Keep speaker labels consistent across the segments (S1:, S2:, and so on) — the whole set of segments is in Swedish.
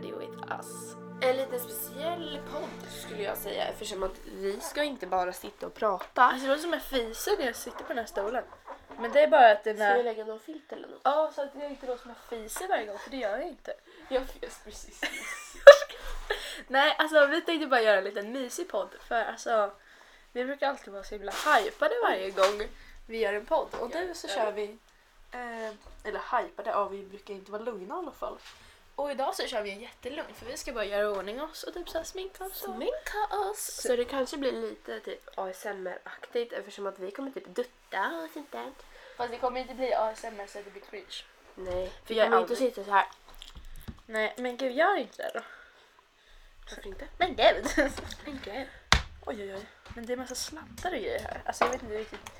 S1: with us. En liten speciell podd skulle jag säga eftersom att vi ska inte bara sitta och prata.
S2: Alltså det var som jag fiser när jag sitter på den här stolen. Men det är bara att den
S1: Ska jag
S2: här...
S1: lägga någon filt eller något?
S2: Ja, så att det inte låter som jag fiser varje gång, för det gör jag inte.
S1: Jag fes precis
S2: Nej, alltså vi tänkte bara göra en liten mysig podd. För alltså, vi brukar alltid vara så himla hypade varje gång vi gör en podd. Och nu så kör vi... Eh, eller hypade, ja vi brukar inte vara lugna i alla fall. Och idag så kör vi en jättelugn för vi ska bara göra i ordning oss och typ såhär sminka oss. och-
S1: Sminka oss! Så det kanske blir lite typ ASMR-aktigt eftersom att vi kommer typ dutta och sånt där.
S2: Fast det kommer inte bli ASMR så det blir cringe.
S1: Nej,
S2: För
S1: vi
S2: jag är
S1: kommer inte
S2: aldrig-
S1: sitta så här.
S2: Nej men gud gör inte det då.
S1: Varför inte?
S2: Men gud! oj oj oj. Men det är massa slantar och grejer här. Alltså jag vet inte riktigt.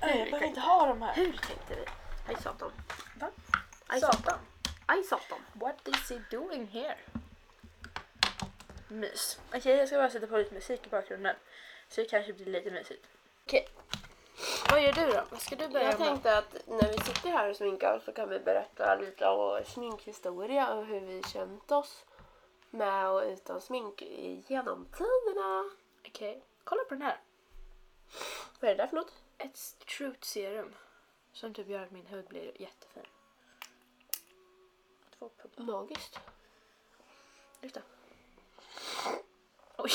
S1: Nej, jag behöver inte ha
S2: de här.
S1: Hur tänkte vi? Aj satan.
S2: Va?
S1: Aj satan. Aj satan.
S2: What is he doing here? Mys. Okej, jag ska bara sätta på lite musik i bakgrunden. Så det kanske blir lite mysigt. Okej. Vad gör du då? Ska du börja?
S1: Jag
S2: med-
S1: tänkte att när vi sitter här och sminkar oss så kan vi berätta lite om vår sminkhistoria och hur vi känt oss med och utan smink genom tiderna.
S2: Okej. Kolla på den här.
S1: Vad är det där för något?
S2: Ett truth serum. Som typ gör att min hud blir jättefin. Två pump.
S1: Magiskt.
S2: Lyfta.
S1: Oj,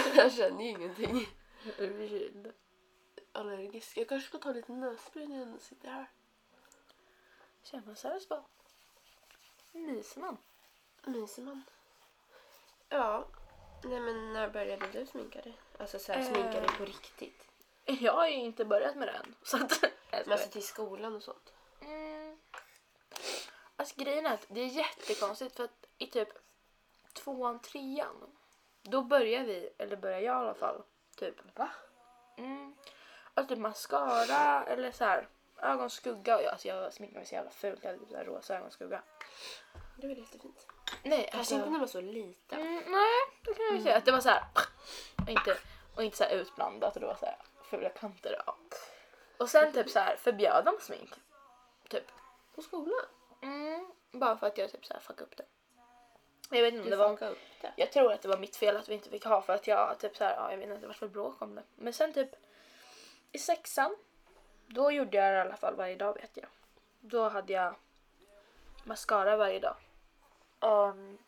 S1: jag känner ju ingenting. Mm,
S2: Urkyld.
S1: Allergisk. Jag kanske ska ta lite nässpray när jag sitter här.
S2: Känner man såhär så bara... Myser man.
S1: Myser man? Ja. Nej men när började du sminka dig? Alltså så här,
S2: Eh.
S1: sminka dig på riktigt.
S2: Jag har ju inte börjat med den. Så att... Jag
S1: Men alltså till skolan och sånt.
S2: Mm. Alltså grejen är att det är jättekonstigt för att i typ tvåan, trean då börjar vi, eller börjar jag i alla fall, typ. Va? Mm. Alltså typ mascara eller så här ögonskugga. Och jag- Alltså jag sminkade mig så jävla fult. Jag hade typ så här rosa ögonskugga.
S1: Det är väl jättefint.
S2: Nej,
S1: Kanske
S2: alltså.
S1: inte när man är så liten.
S2: Mm, nej, det kan jag ju säga. Att det var så här. Och inte, och inte så här utblandat och det var så här fula kanter. Ja. Och sen typ så här förbjöd de smink. Typ.
S1: På skolan?
S2: Mm, bara för att jag typ så här fuckade upp det. Jag vet inte om
S1: Du
S2: det var...
S1: fuckade upp det.
S2: Jag tror att det var mitt fel att vi inte fick ha för att jag typ så här, ja, jag vet inte, det var för bråk om det. Men sen typ i sexan, då gjorde jag det i alla fall varje dag vet jag. Då hade jag mascara varje dag. Ehm,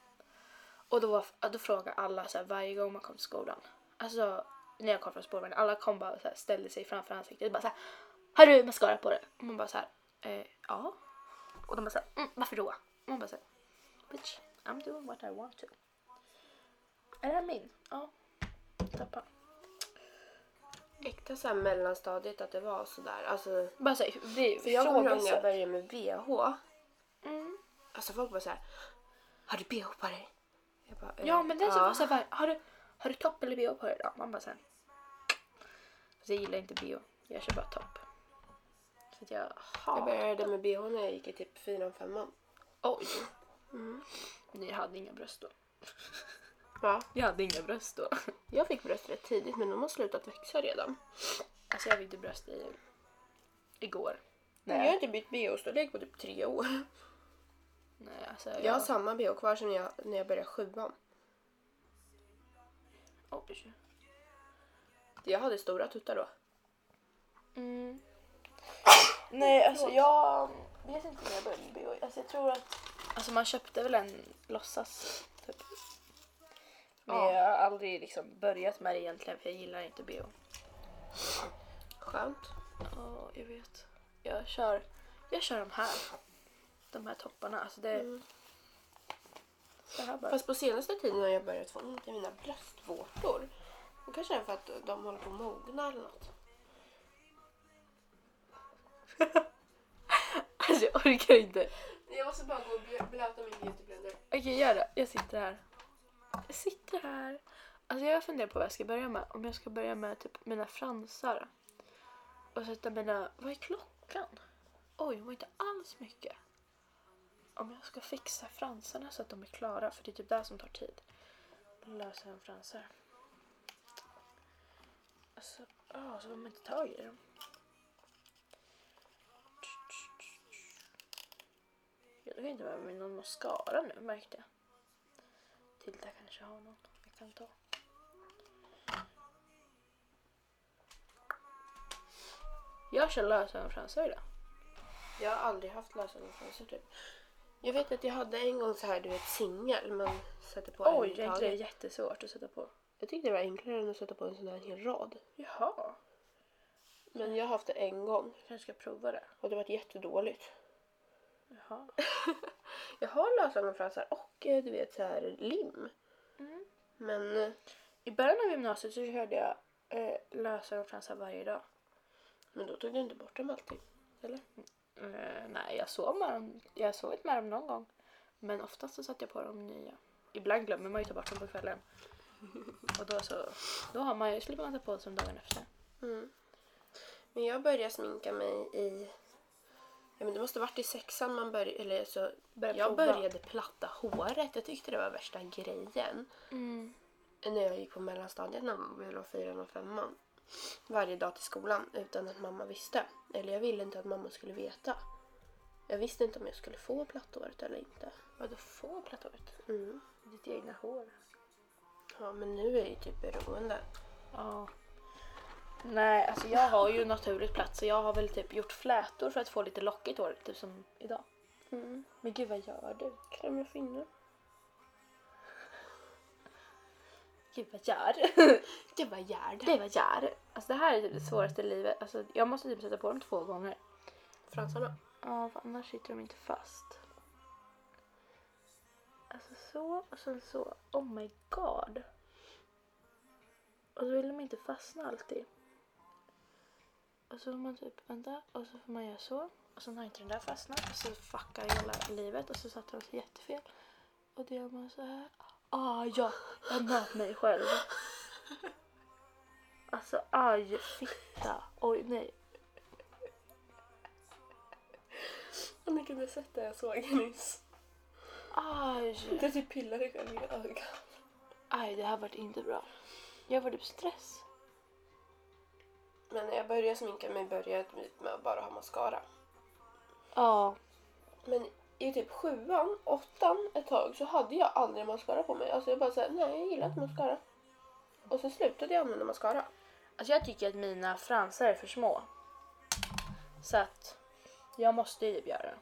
S2: och då, var, då frågade alla så här, varje gång man kom till skolan. Alltså när jag kom från spårvagnen, alla kom bara så här, ställde sig framför ansiktet och bara så här, Har du mascara på dig? Och man bara så här, eh, ja. Och de bara så här, mm, varför då? Och man bara så här, bitch, I'm doing what I want to. Är det här min? Ja. Tappa.
S1: Äkta såhär mellanstadiet att det var sådär. Alltså,
S2: Bara såhär, vi
S1: för jag kommer ihåg när jag
S2: ifrågasätter.
S1: började med bh.
S2: Mm.
S1: Alltså folk bara såhär. Har du bh på dig? Jag bara, eh,
S2: Ja men den som var såhär, har du, har du topp eller bh på dig? Ja, man bara såhär. Fast jag gillar inte bh, jag kör bara topp. Så att jag
S1: Jag
S2: har...
S1: började med bh när jag gick i typ fyran, femman.
S2: Oj!
S1: Mm.
S2: Ni hade inga bröst då.
S1: Ja.
S2: Jag hade inga bröst då.
S1: Jag fick bröst rätt tidigt men de har slutat växa redan.
S2: Alltså jag fick det bröst i... igår.
S1: Nej. Jag har inte bytt bh-storlek på typ tre år.
S2: Nej alltså jag...
S1: Jag har samma bh kvar som jag, när jag började sjuan.
S2: Oj.
S1: Jag hade stora tuttar då.
S2: Mm. Nej, alltså jag vet inte när jag började med bio. Alltså jag tror att... Alltså man köpte väl en låtsas, typ. Men
S1: Ja.
S2: jag har aldrig liksom börjat med det egentligen för jag gillar inte bio.
S1: Skönt.
S2: Ja, jag vet. Jag kör, jag kör de här. De här topparna. Alltså det...
S1: Mm.
S2: Det här bara...
S1: Fast på senaste tiden har jag börjat få ont i mina bröstvårtor. Och kanske är det för att de håller på att mogna eller något.
S2: Alltså jag orkar inte.
S1: Jag måste bara gå och blöta min beautyblender.
S2: Okej, gör det. Jag sitter här. Jag sitter här. Alltså jag funderar på vad jag ska börja med. Om jag ska börja med typ mina fransar. Och sätta mina... Vad är klockan? Oj, det var inte alls mycket. Om jag ska fixa fransarna så att de är klara, för det är typ det som tar tid. Då löser jag en fransar. Alltså, ja, så får man inte tag i dem. Jag kan inte med mig någon mascara nu, märkte jag. Tilda kanske har någon jag kan ta. Jag kör lösögonfransar idag.
S1: Jag har aldrig haft lösenfransar typ. Jag vet att jag hade en gång så här du vet singel man sätter på
S2: Oj,
S1: en i
S2: det är
S1: taget.
S2: jättesvårt att sätta på.
S1: Jag tyckte det var enklare än att sätta på en sån här hel rad.
S2: Jaha.
S1: Men jag har haft det en gång
S2: Jag kanske ska prova det.
S1: och det var jättedåligt.
S2: Jaha.
S1: Jag har lösenfransar och eh, du vet så här lim.
S2: Mm.
S1: Men eh,
S2: I början av gymnasiet så körde jag eh, lösögonfransar varje dag.
S1: Men då tog du inte bort dem alltid? Eller?
S2: Eh, nej, jag sov med dem. Jag sov inte med dem någon gång. Men oftast så satte jag på dem nya. Ibland glömmer man ju ta bort dem på kvällen. Och då så, då har man ju, slipper man ta på sig dem dagen efter.
S1: Men jag började sminka mig i... Ja, men det måste varit i sexan man började... Eller så,
S2: Började
S1: jag
S2: prova.
S1: började platta håret. Jag tyckte det var värsta grejen.
S2: Mm.
S1: När jag gick på mellanstadiet mellan fyran och femman. Varje dag till skolan utan att mamma visste. Eller jag ville inte att mamma skulle veta. Jag visste inte om jag skulle få platthåret eller inte.
S2: Vadå få platåret?
S1: Mm.
S2: Ditt egna hår?
S1: Ja, men nu är jag ju typ beroende.
S2: Ja. Nej, alltså jag har ju naturligt platt så jag har väl typ gjort flätor för att få lite lockigt hår, typ som idag.
S1: Mm.
S2: Men gud vad gör du?
S1: Klämmer finnar.
S2: Gud vad gör?
S1: Det var Gerd.
S2: Gud vad gör? Alltså det här är typ det svåraste i livet. Alltså jag måste typ sätta på dem två gånger.
S1: Fransarna.
S2: Ja, för annars sitter de inte fast. Alltså så och sen så. Oh my god. Och så vill de inte fastna alltid. Och så får man typ vänta och så får man göra så. Och sen har inte den där fastnat och så fuckar hela livet och så satte de sig jättefel. Och då gör man så här. Ah ja, jag nöt mig själv. Alltså aj fitta. Oj nej.
S1: Om ni kunde sett det jag såg nyss.
S2: Aj.
S1: Du typ pillar dig själv i ögat.
S2: Aj, det här vart inte bra. Jag var typ stress.
S1: Men när jag började sminka mig började jag med att bara ha mascara.
S2: Ja.
S1: Men i typ sjuan, åttan ett tag så hade jag aldrig mascara på mig. Alltså jag bara såhär, nej jag gillar inte mascara. Och så slutade jag använda mascara.
S2: Alltså jag tycker att mina fransar är för små. Så att jag måste ju typ göra det.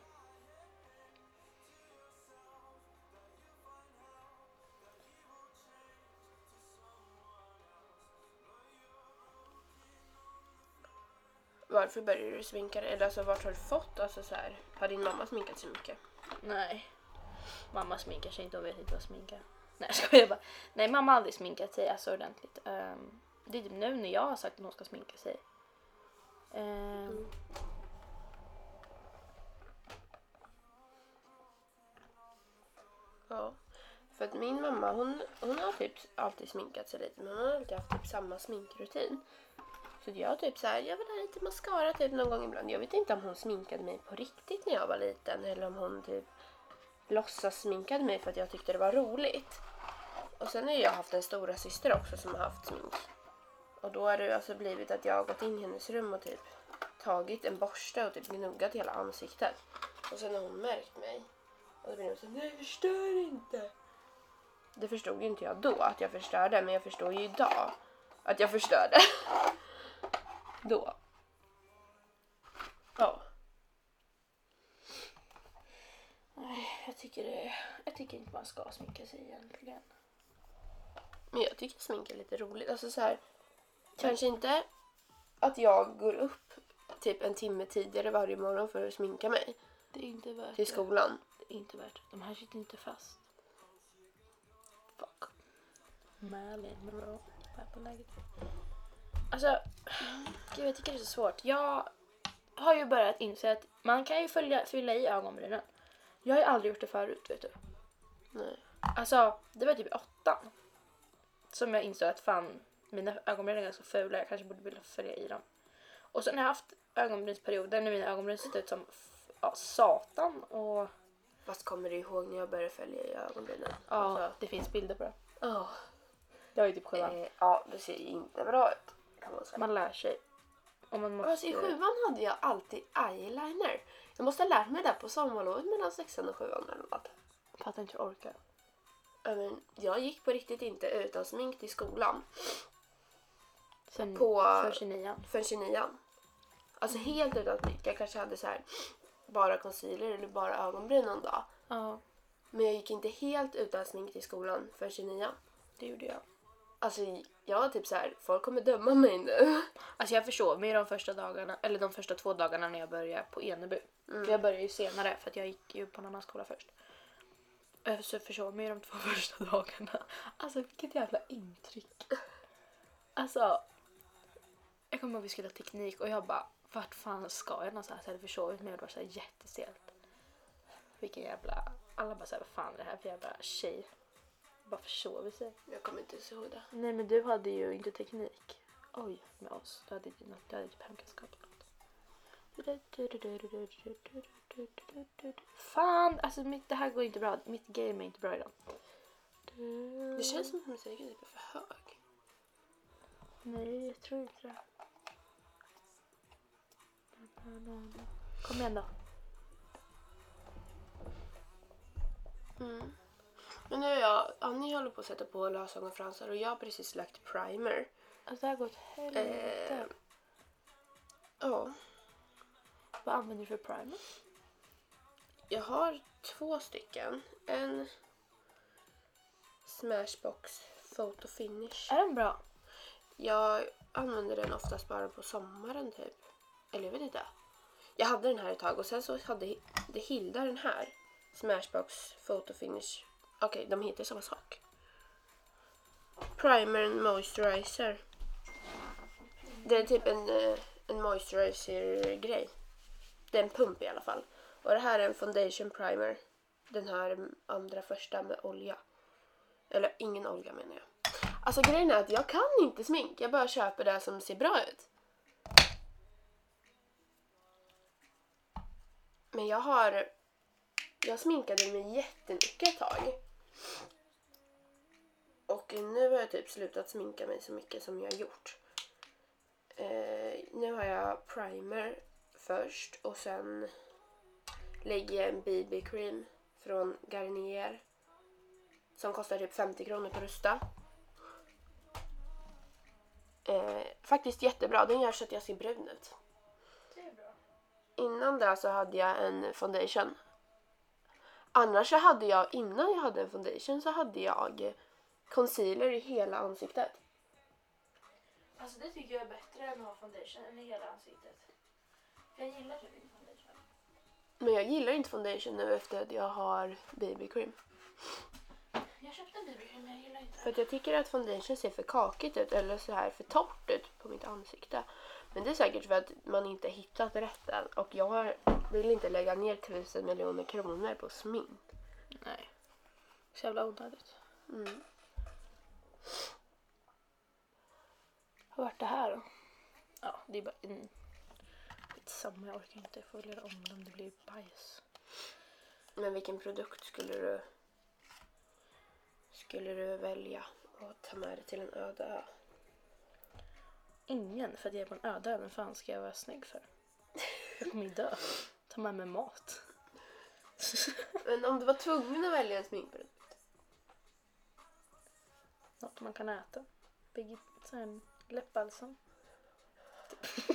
S1: Varför började du sminka dig? Eller alltså vart har du fått? Alltså så här, har din mamma sminkat sig mycket?
S2: Nej. Mamma sminkar sig inte, hon vet inte vad sminka är. Nej jag skojar bara. Nej mamma har aldrig sminkat sig alltså ordentligt. Ehm, det är typ nu när jag har sagt att hon ska sminka sig. Ehm,
S1: Ja. För att min mamma hon, hon har typ alltid sminkat sig lite men hon har alltid haft typ samma sminkrutin. Så att jag typ så här, jag vill ha lite mascara typ någon gång ibland. Jag vet inte om hon sminkade mig på riktigt när jag var liten eller om hon typ låtsas sminkade mig för att jag tyckte det var roligt. Och sen har jag haft en stora syster också som har haft smink. Och då har det alltså blivit att jag har gått in i hennes rum och typ tagit en borste och typ gnuggat hela ansiktet. Och sen har hon märkt mig. Och då blir de så nej förstör inte. Det förstod ju inte jag då att jag förstörde men jag förstår ju idag att jag förstörde. då. Ja.
S2: Nej, jag tycker, det, jag tycker inte man ska sminka sig egentligen.
S1: Men jag tycker smink är lite roligt. Alltså så här, kanske inte att jag går upp typ en timme tidigare varje morgon för att sminka mig
S2: Det är inte värt
S1: till skolan.
S2: Det är inte värt det. De här sitter inte fast. Fuck. Marilyn Monroe. Pappaläget. Alltså, gud, jag tycker det är så svårt. Jag har ju börjat inse att man kan ju följa, fylla i ögonbrynen. Jag har ju aldrig gjort det förut, vet du.
S1: Nej.
S2: Alltså, det var typ i åttan. Som jag insåg att fan, mina ögonbryn är ganska fula. Jag kanske borde vilja följa i dem. Och sen har jag haft ögonbrynsperioder när mina ögonbryn sett ut som f- ja, satan. Och
S1: Fast kommer du ihåg när jag började följa i ögonbrynen?
S2: Ja,
S1: Alltså,
S2: det finns bilder på det.
S1: åh.
S2: Jag är typ
S1: Eh, ja, det ser ju inte bra ut kan man säga.
S2: Man lär sig. Om man måste...
S1: Alltså, I sjuan hade jag alltid eyeliner. Jag måste ha lärt mig det på sommarlovet mellan sexan och sjuan eller något.
S2: Fattar inte hur jag orkar.
S1: Ja, men jag gick på riktigt inte utan smink till skolan
S2: Sen
S1: På-
S2: för 29
S1: förrän 29 Alltså helt utan smink. Jag kanske hade så här bara concealer eller bara ögonbryn någon dag.
S2: Ja,
S1: Men jag gick inte helt utan smink till skolan förrän 29
S2: det gjorde jag.
S1: Alltså jag var typ så här, folk kommer döma mig nu.
S2: Alltså jag försov mig de första dagarna, eller de första två dagarna när jag började på Eneby. För jag började ju senare för att jag gick ju på en annan skola först. Eh, Så jag försov mig de två första dagarna. Alltså vilket jävla intryck. Alltså. Jag kommer ihåg vi skulle ha teknik och jag bara vart fan ska jag någonstans? Jag hade försovit mig och det var såhär jättestelt. Vilken jävla, alla bara såhär vad fan är det här för jävla tjej? Bara försover sig.
S1: Jag kommer inte ens ihåg det.
S2: Nej men du hade ju inte teknik. Oj, med oss. Du hade ju något, du hade typ hemkunskap eller något. Fan, alltså mitt, det här går inte bra. Mitt game är inte bra idag.
S1: Det känns som att musiken typ är för hög.
S2: Nej, jag tror inte det. Kom igen då.
S1: Mm. Men nu är jag, Annie håller på att sätta på lösögonfransar och jag har precis lagt primer.
S2: Alltså det här går åt helvete.
S1: Eh, Ja,
S2: Vad använder du för primer?
S1: jag har två stycken. En Smashbox Photo Finish.
S2: Är den bra?
S1: Jag använder den oftast bara på sommaren typ. Eller jag vet inte. Jag hade den här ett tag och sen så hade Hi- det Hilda den här. Smashbox Photo Finish. Okej, de heter samma sak. Primer and Moisturizer. Det är typ en, eh, en moisturizer-grej. Det är en pump i alla fall. Och det här är en foundation primer. Den här mm, andra första med olja. Eller ingen olja menar jag. Alltså grejen är att jag kan inte smink. Jag bara köper det som ser bra ut. Men jag har... Jag sminkade mig jättemycket ett tag. Och nu har jag typ slutat sminka mig så mycket som jag har gjort. Eh, nu har jag primer först och sen lägger jag en BB-cream från Garnier. Som kostar typ 50 kronor på Rusta. Eh, faktiskt jättebra, den gör så att jag ser brun ut. Innan det så hade jag en foundation. Annars så hade jag, innan jag hade en foundation så hade jag concealer i hela ansiktet.
S2: Alltså det tycker jag är bättre än att ha foundation eller hela ansiktet. Jag gillar typ inte foundation.
S1: Men jag gillar inte foundation nu efter att jag har BB-cream.
S2: Jag köpte en BB-cream men jag gillar inte
S1: För att jag tycker att foundation ser för kakigt ut eller så här för torrt ut på mitt ansikte. Men det är säkert för att man inte har hittat rätt än och jag har- vill inte lägga ner tusen miljoner kronor på smink.
S2: Nej. Så jävla onödigt.
S1: Mm.
S2: Vad vart det här då? Ja, det är bara en... Skitsamma, jag orkar inte. Jag får väl göra om det om det blir bajs.
S1: Men vilken produkt skulle du skulle du välja att ta med dig till en öde ö?
S2: Ingen, för att jag är på en öde ö. Vem fan ska jag vara snygg för? Jag kommer ju dö. Ta med mig mat.
S1: Men om du var tvungen att välja en sminkprodukt?
S2: Något man kan äta. Birgit- så här, Läppbalsam. Typ.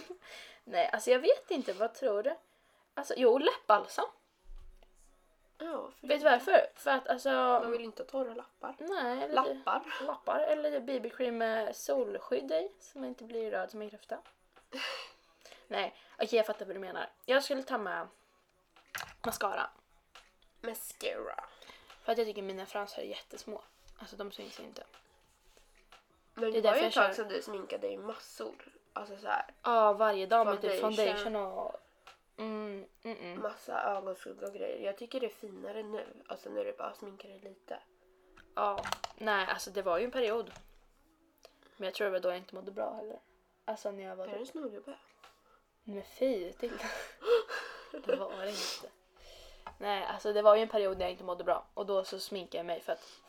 S2: Nej, alltså jag vet inte. Vad tror du? Alltså, jo, läppbalsam.
S1: Ja, för
S2: Vet du varför? För att alltså...
S1: Man vill inte ha torra lappar.
S2: Nej, eller- typ
S1: Lappar?
S2: lappar eller BB-cream med solskydd i så man inte blir röd som en kräfta. Nej, okej jag fattar vad du menar. Jag skulle ta med mascara.
S1: Mascara.
S2: För att jag tycker mina fransar är jättesmå. Alltså de syns inte.
S1: Men det,
S2: är
S1: var
S2: därför
S1: ju
S2: jag
S1: ett tag
S2: kör.
S1: som du sminkade i massor. Alltså så här,
S2: Ja, varje dag med typ
S1: Foundation.
S2: foundation och... Mm, mm, mm.
S1: massa ögonskugga och grejer. Jag tycker det är finare nu, alltså när du bara sminkar dig lite.
S2: Ja, nej alltså det var ju en period. Men jag tror det var då jag inte mådde bra heller. Alltså när jag var
S1: Är det en snorgubbe?
S2: Men fy, titta. Det var det inte. Nej, alltså det var ju en period när jag inte mådde bra och då så sminkade jag mig för att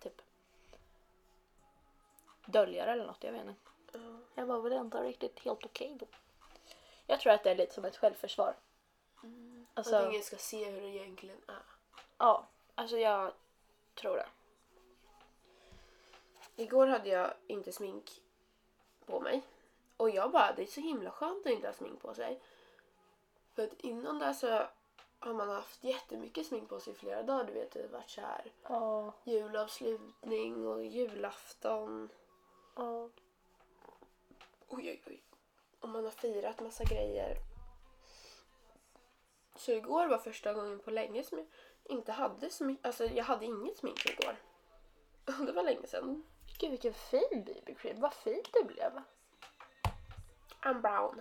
S2: typ dölja det eller något, jag vet inte.
S1: Ja.
S2: Jag var väl ändå riktigt helt okej då. Jag tror att det är lite som ett självförsvar.
S1: Att
S2: Alltså,
S1: ingen ska se hur det egentligen är.
S2: ja, alltså jag tror det.
S1: Igår hade jag inte smink på mig. Och jag bara, det är så himla skönt att inte ha smink på sig. För att innan det så har man haft jättemycket smink på sig i flera dagar. Du vet, det har varit så här
S2: Ja.
S1: julavslutning och julafton.
S2: Ja.
S1: Oj, oj, oj. Och man har firat massa grejer. Så igår var första gången på länge som jag inte hade smink. Alltså jag hade inget smink igår. Det var länge sedan.
S2: Gud vilken fin BB-cream. Vad fint det blev.
S1: I'm brown.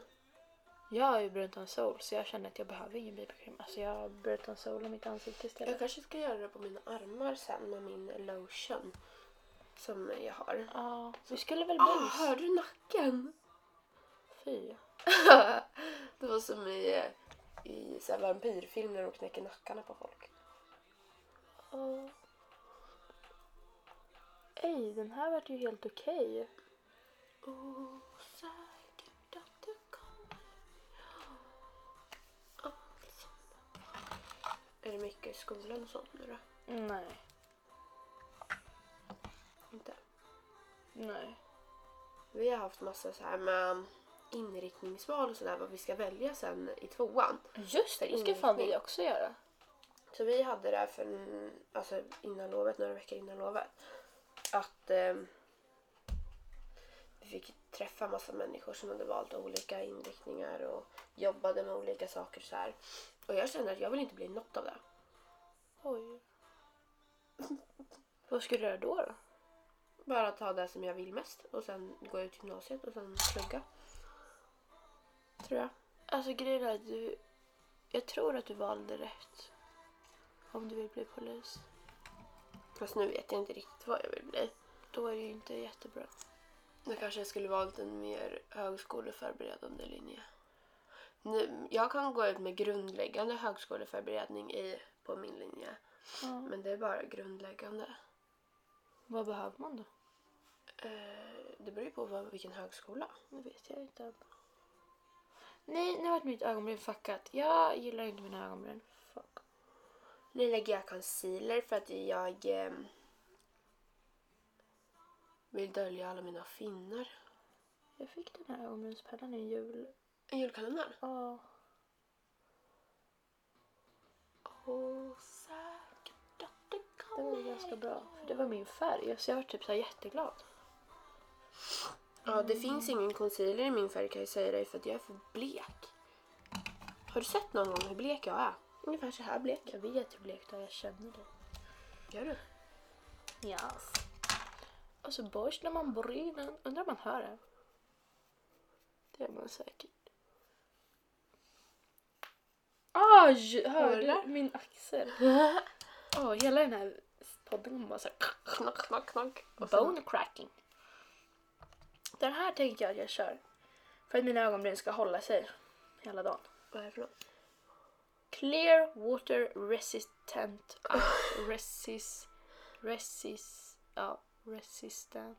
S2: Jag är ju brunt en sol så jag känner att jag behöver ingen BB-cream. Alltså jag brunt en sol i mitt ansikte
S1: Jag
S2: istället.
S1: kanske ska göra det på mina armar sen med min lotion. Som jag har.
S2: Ja. Du skulle väl bli...
S1: Ah, hör du nacken?
S2: Fy.
S1: det var som i, i så här vampyrfilm när de knäcker nackarna på folk.
S2: Ja. Ej, den här vart ju helt okej.
S1: Oh, säkert att du kommer Ja, alltså. Är det mycket i skolan och sånt nu då?
S2: Nej.
S1: Inte.
S2: Nej.
S1: Vi har haft massa så här med inriktningsval och sådär vad vi ska välja sen i tvåan.
S2: Just det, det ska
S1: Inriktning.
S2: fan vi också göra.
S1: Så vi hade det här för en- alltså innan lovet, några veckor innan lovet. Att eh, vi fick träffa massa människor som hade valt olika inriktningar och jobbade med olika saker så här. Och jag kände att jag vill inte bli något av det.
S2: Oj. Vad ska du göra då? då?
S1: Bara ta det som jag vill mest och sen gå ut gymnasiet och sen plugga. Tror jag.
S2: Alltså grejen är att du... Jag tror att du valde rätt. Om du vill bli polis.
S1: Fast nu vet jag inte riktigt vad jag vill bli.
S2: Då är det ju inte jättebra.
S1: Då kanske jag skulle valt en mer högskoleförberedande linje. Nu, jag kan gå ut med grundläggande högskoleförberedning i, på min linje. Men det är bara grundläggande.
S2: Vad behöver man då?
S1: Eh, det beror ju på vad, vilken högskola.
S2: Det vet jag inte än. Nej, nu vart mitt ögonbryn fuckat. Jag gillar inte mina ögonbryn.
S1: Fuck. Nu lägger jag concealer för att jag eh, vill dölja alla mina finnar.
S2: Jag fick den här ögonbrynspennan i jul.
S1: En julkalender?
S2: Ja.
S1: Åh, säkert att du
S2: Det
S1: kommer
S2: var ganska bra. För det var min färg. Så jag var typ så här jätteglad.
S1: Ja, det finns ingen concealer i min färg kan jag säga dig för att jag är för blek. Har du sett någon gång hur blek jag är? Ungefär så här blek.
S2: Jag vet hur blekt du är. Jag känner dig.
S1: Gör du?
S2: Ja. Och så borstar man brynen. Undrar om man hör det? Det är man säkert. Aj! Hörde
S1: Hörde?
S2: du min axel? Åh, hela den här podden kommer vara såhär...
S1: Knack, knack, knack. Och sen-
S2: Bone cracking. Den här tänker jag att jag kör. För att mina ögonbryn ska hålla sig hela dagen.
S1: Vad är det för något?
S2: Clear water resistant eye- resist resist ja resistant.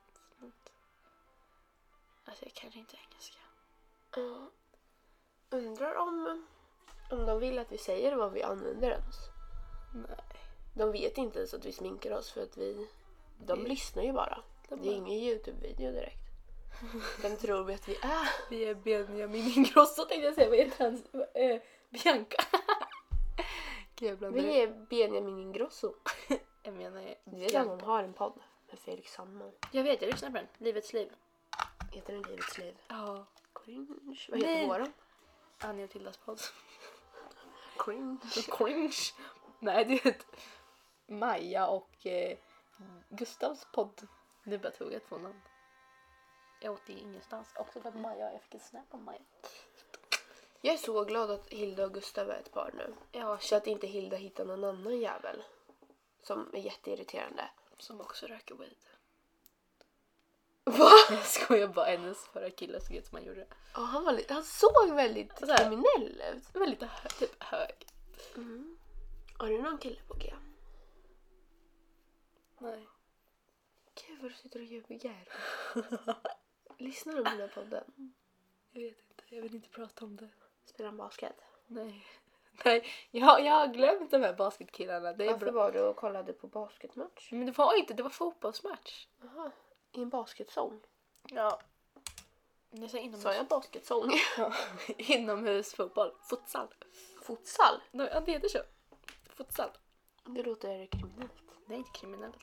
S2: Alltså jag kan inte engelska.
S1: Ja. Undrar om, om de vill att vi säger vad vi använder ens.
S2: Nej.
S1: De vet inte ens att vi sminkar oss för att vi... De
S2: Vi-
S1: lyssnar ju bara.
S2: de
S1: det är
S2: bara-
S1: ingen YouTube-video direkt. De tror vi att vi är.
S2: Vi är Benjamin Ingrosso tänkte jag säga. Vad heter hans? Eh, Bianca. Gud jag blandar ihop.
S1: Vi är Benjamin Ingrosso.
S2: Jag menar
S1: Du vet att
S2: Bianca.
S1: han har en podd med Felix Sandman.
S2: Jag vet jag lyssnar på den. Livets liv.
S1: Heter den Livets liv?
S2: Ja.
S1: Cringe. Vad heter
S2: Nej.
S1: våran?
S2: Anja och Tildas podd.
S1: Cringe.
S2: Cringe. Nej det är Maja och eh, Gustavs podd. Nu bara tog jag två namn. Jag åt det ingenstans. Också för att Maja, jag fick en snap av Maja.
S1: Jag är så glad att Hilda och Gustav är ett par nu.
S2: Ja,
S1: Så att inte Hilda hittar någon annan jävel. Som är jätteirriterande.
S2: som också röker weed.
S1: Va?
S2: Jag skojar bara, hennes förra kille såg ut som han gjorde.
S1: Ja, han, var lite, han såg väldigt
S2: Så här.
S1: kriminell ut.
S2: Men lite hö- typ hög.
S1: Har du någon kille på G?
S2: Nej.
S1: Gud vad du sitter och ljuger. Lyssnar du på den här podden?
S2: Jag vet inte, jag vill inte prata om det.
S1: Spelar han basket?
S2: Nej. Nej, jag, jag har glömt de här basketkillarna. Det är
S1: Varför
S2: bra.
S1: var du och kollade på basketmatch?
S2: Men det var inte, det var fotbollsmatch.
S1: Jaha. i en basketsång.
S2: Ja. Jag säger inomhus.
S1: Sa jag basketsång?
S2: Ja. Inomhusfotboll. Futsal.
S1: Futsal?
S2: Ja, det heter så. Futsal.
S1: Det låter kriminellt.
S2: Det är inte kriminellt.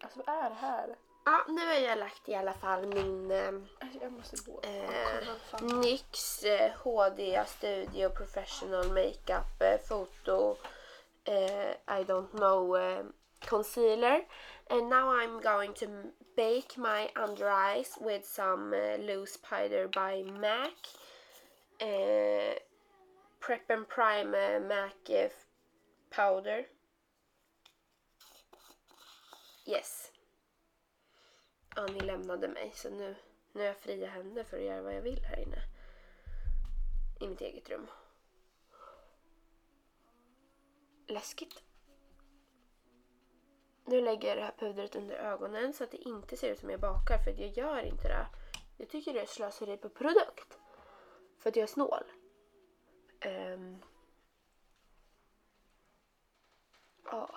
S2: Alltså vad är det här?
S1: Ja, nu har jag lagt i alla fall min eh,
S2: Alltså, jag måste gå.
S1: Eh,
S2: Kolla, fan.
S1: NYX eh, HD Studio Professional Makeup eh, Photo eh, I don't know eh, concealer and now I'm going to m- bake my under eyes with some eh, loose powder by MAC eh, Prep and Prime eh, MAC eh, f- powder Yes Ja, ni lämnade mig så nu, nu har jag fria händer för att göra vad jag vill här inne. I mitt eget rum. Läskigt. Nu lägger jag det här pudret under ögonen så att det inte ser ut som jag bakar för att jag gör inte det. Jag tycker det är slöseri på produkt. För att jag är snål. Ehm. Ja.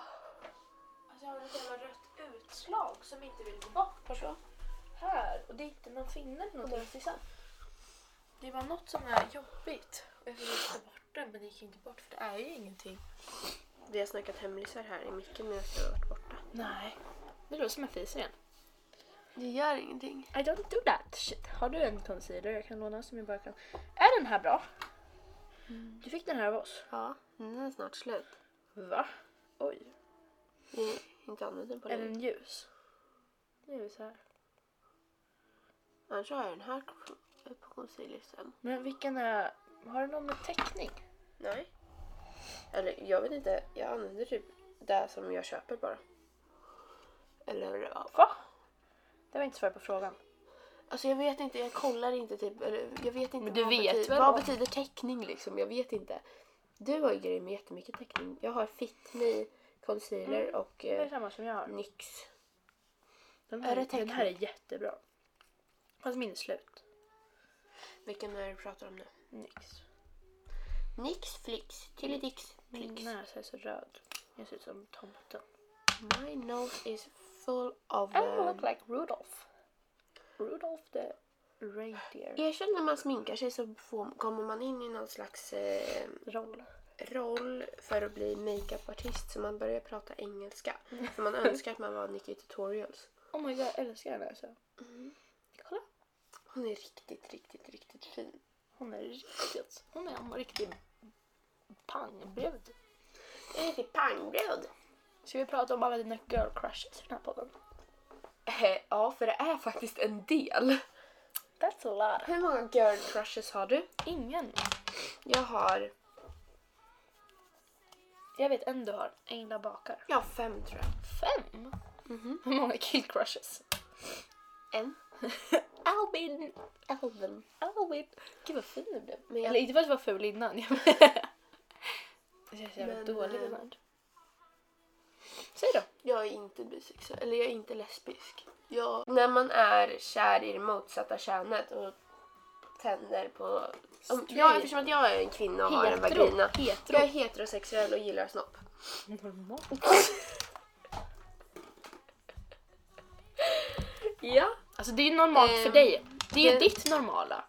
S2: Alltså jag har ett jävla rött utslag som inte vill gå bort. Var så? Här. Och det är inte man finner någonting. Mm. Det var något som är jobbigt. Och jag försökte ta bort det men det gick inte bort för det är ju ingenting.
S1: Vi har snackat hemlisar här i micken medan jag har varit borta.
S2: Nej. Det låter som en fis igen.
S1: Det gör ingenting.
S2: I don't do that. Shit. Har du en concealer jag kan låna som jag bara kan... Är den här bra? Du fick den här av oss.
S1: Ja, Mm, den är snart slut.
S2: Va? Oj.
S1: Vi har inte använt den på
S2: Är
S1: länge.
S2: den ljus? Ljus här.
S1: Annars har jag den här på concealer sen.
S2: Men vilken är... Har du någon med täckning?
S1: Nej. Eller jag vet inte, jag använder typ det som jag köper bara. Eller ja.
S2: Va? Det var inte svar på frågan.
S1: Alltså jag vet inte, jag kollar inte typ, eller jag vet inte
S2: Men du
S1: vad,
S2: vet
S1: betyder,
S2: väl
S1: vad
S2: om-
S1: betyder täckning liksom, jag vet inte. Du har ju grejer med jättemycket täckning. Jag har Fit Me, concealer och
S2: Det är
S1: eh,
S2: samma som jag har.
S1: NYX.
S2: Den
S1: Är
S2: här,
S1: det
S2: den
S1: tecknat?
S2: här är jättebra. Fast min är slut.
S1: Vilken är det du pratar om nu?
S2: Nix.
S1: NYX, Flix, Tilidix,
S2: Min
S1: Plix.
S2: näsa är så röd. Jag ser ut som tomten.
S1: My nose is full of...
S2: I
S1: eh,
S2: Oh, look like Rudolph. Rudolph the reindeer.
S1: Erkänn när man sminkar sig så får, kommer man in i någon slags eh,
S2: Roll.
S1: roll för att bli makeupartist så man börjar prata engelska. För man önskar att man var Nicky Tutorials.
S2: Oh my god, jag älskar den här näsan. Mm. Kolla.
S1: Hon är riktigt, riktigt, riktigt fin.
S2: Hon är riktigt... Hon är en riktig pangbrud.
S1: Det är riktigt pangbröd.
S2: Ska vi prata om alla dina girl crushes i den här podden?
S1: Eh, ja, för det är faktiskt en del.
S2: That's a lot.
S1: Hur många girl crushes har du?
S2: Ingen.
S1: Jag har...
S2: Jag vet en du har. Engla bakar.
S1: Jag har fem tror jag.
S2: Fem?
S1: Mhm.
S2: Hur många kill crushes?
S1: En.
S2: Albin!
S1: Elven.
S2: Albin! Gud vad fin du blev.
S1: Men jag-
S2: Eller inte för att jag var ful innan. Jag känns jävla
S1: Men,
S2: dålig
S1: eh,
S2: ibland. Säg då.
S1: Jag är inte bisexuell, eller jag är inte lesbisk. Jag... När man är kär i det motsatta könet och tänder på... Om, jag, eftersom att jag är en kvinna och har en
S2: Hetero.
S1: vagina.
S2: Hetero.
S1: Jag är heterosexuell och gillar snopp.
S2: Normalt.
S1: Ja.
S2: Alltså det är ju normalt för
S1: Ehm,
S2: dig. Det är ju
S1: det-
S2: ditt normala.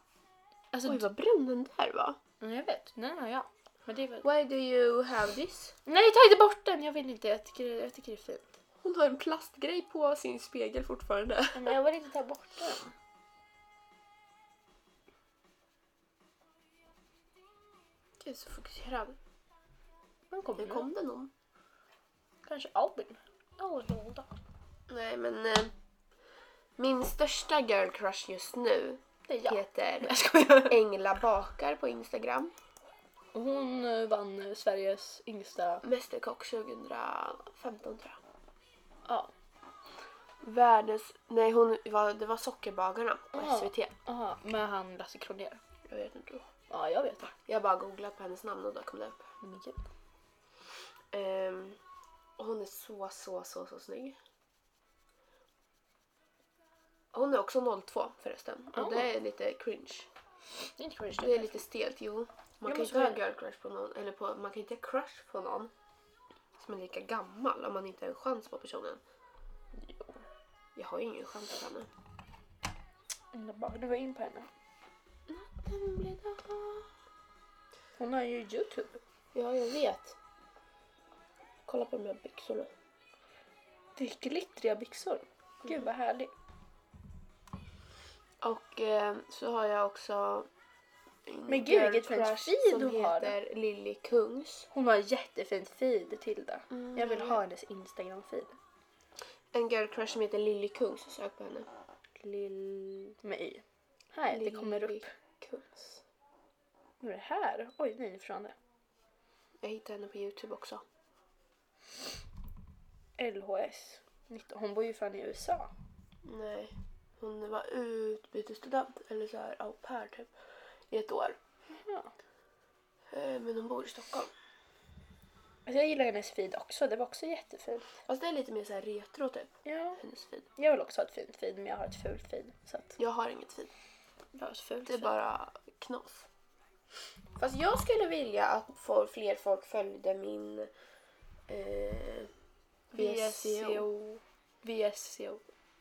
S2: Alltså,
S1: Oj vad brun den där var.
S2: mm, jag vet. Nej, nej, ja. Men det är väl...
S1: Why do you have this?
S2: Nej, ta inte bort den! Jag vill inte. Jag tycker, jag tycker det är fint.
S1: Hon har en plastgrej på sin spegel fortfarande.
S2: Nej, Men jag vill inte ta bort den.
S1: Jag är så fokuserad.
S2: Den kommer
S1: Nu
S2: kom.
S1: kom det någon.
S2: Kanske Albin. Eller
S1: Nej men... Eh, min största girl crush just nu
S2: Det är jag.
S1: heter
S2: Jag skojar.
S1: Engla Bakar på Instagram.
S2: Hon eh, vann eh, Sveriges yngsta...
S1: Mästerkock 2015 tror jag.
S2: Ja.
S1: Världens... Nej, hon var, det var Sockerbagarna på
S2: Ja.
S1: SVT.
S2: Aha, med han Lasse Kronér.
S1: Jag vet inte.
S2: Ja, jag vet det.
S1: Jag har bara googlat på hennes namn och då kom det upp.
S2: Men gud.
S1: Ehm, och hon är så, så, så, så snygg. Hon är också 02 förresten. Och
S2: Oh.
S1: det är lite cringe.
S2: Det är inte cringe.
S1: Det är lite stelt, jo. Man
S2: Jag
S1: kan
S2: måste
S1: inte ha
S2: väl-
S1: girl crush på någon, eller på, man kan inte ha crush på någon som är lika gammal om man inte har en chans på personen.
S2: Jo.
S1: Jag har ju ingen chans på henne.
S2: Jag bara, du var in på henne.
S1: Natten blir dag.
S2: Hon har ju Youtube.
S1: Ja, jag vet. Kolla på de här byxorna.
S2: Det är glittriga byxor. Gud vad härligt.
S1: Och eh, så har jag också en
S2: Men gud,
S1: girl
S2: vilket fint
S1: crush
S2: feed
S1: som
S2: hon har.
S1: heter Lilly Kungs.
S2: Hon har jättefint feed Tilda.
S1: Mm,
S2: jag vill
S1: jag
S2: ha hennes instagram feed.
S1: En girl crush som heter Lilly Kungs. Sök på henne.
S2: Lill... Med y. Här, det kommer
S1: Lilly
S2: upp.
S1: Kungs.
S2: Vad är det här? Oj, nej ifrån det.
S1: Jag hittade henne på Youtube också.
S2: LHS. 19. Hon bor ju fan i USA.
S1: Nej. Hon var utbytesstudent, eller så här au pair typ, i ett år.
S2: Ja.
S1: Eh, Men hon bor i Stockholm.
S2: Alltså jag gillar hennes feed också. Det var också jättefint.
S1: Fast det är lite mer så här retro typ,
S2: Ja.
S1: hennes feed.
S2: Jag vill också ha ett fint feed men jag har ett fult feed. Så att
S1: Jag har inget feed.
S2: jag har ett fult
S1: Det är
S2: feed.
S1: bara knas. Fast jag skulle vilja att få- fler folk följde min eh, VSCO.
S2: VSCO. VSCO.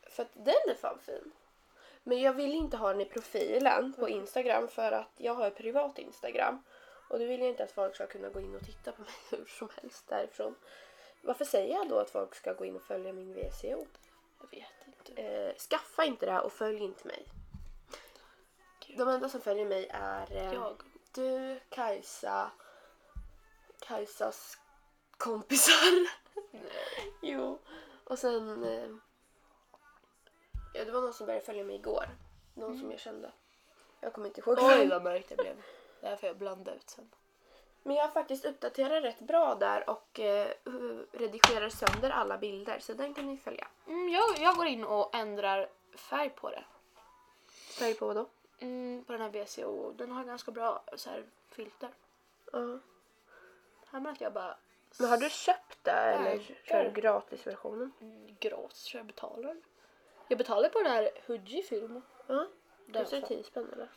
S1: E För att den är fan fin. Men jag vill inte ha den i profilen på Instagram för att jag har ett privat Instagram. Och då vill jag inte att folk ska kunna gå in och titta på mig hur som helst därifrån. Varför säger jag då att folk ska gå in och följa min E VCO?
S2: Jag vet inte.
S1: Eh, skaffa inte det här och följ inte mig. De enda som följer mig är eh,
S2: Jag.
S1: du, Kajsa, Kajsas kompisar. jo. Och sen... eh, Ja, det var någon som började följa mig igår. Någon som jag kände. Jag kommer inte ihåg.
S2: Mm. Oj
S1: vem.
S2: vad mörkt det blev. Det här får jag blanda ut sen.
S1: Men jag har faktiskt uppdaterat rätt bra där och eh, redigerar sönder alla bilder. Så den kan ni följa.
S2: Mm, jag, jag går in och ändrar färg på det.
S1: Följ på då.
S2: Mm, på den här VCO. Den har ganska bra så här, filter.
S1: Ja.
S2: Här märker jag bara
S1: Men har du köpt det eller
S2: Tackar.
S1: kör du gratisversionen?
S2: mm, gratis så jag betalar. Jag betalar på den här Huji film.
S1: Ja.
S2: Den
S1: Kostar det
S2: får-
S1: 10 spänn eller?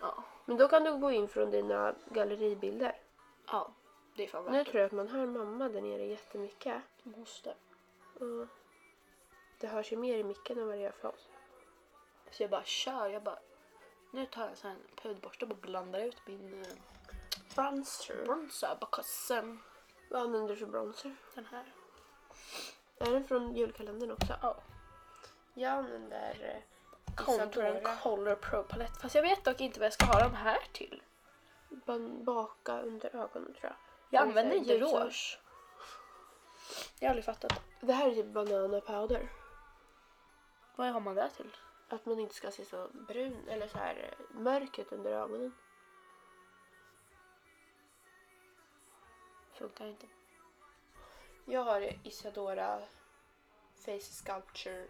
S2: Ja.
S1: Men då kan du gå in från dina galleribilder.
S2: ja, det är fan
S1: Nu
S2: värt
S1: tror jag att man hör mamma där nere jättemycket.
S2: det. Måste.
S1: Ja. Det hörs ju mer i micken än vad det gör för oss.
S2: Så jag bara kör. Jag bara, nu tar jag en sån här pudborste och bara blandar ut min eh,
S1: Bronzer.
S2: bronzer. Because eh,
S1: Vad använder du för bronzer?
S2: den här.
S1: Är den från julkalendern också?
S2: Ja.
S1: Jag använder eh,
S2: Contouren
S1: Isadora.
S2: Color Pro palett. Fast jag vet dock inte vad jag ska ha de här till.
S1: ban- baka under ögonen tror jag.
S2: Jag
S1: Eller
S2: använder
S1: så
S2: inte
S1: ljus-
S2: rouge. Jag har aldrig fattat.
S1: Det här är typ banana powder.
S2: Vad har man det till?
S1: Att man inte ska se så brun eller så här eh, mörk ut under ögonen.
S2: Funkar inte.
S1: Jag har Isadora Face Sculpture.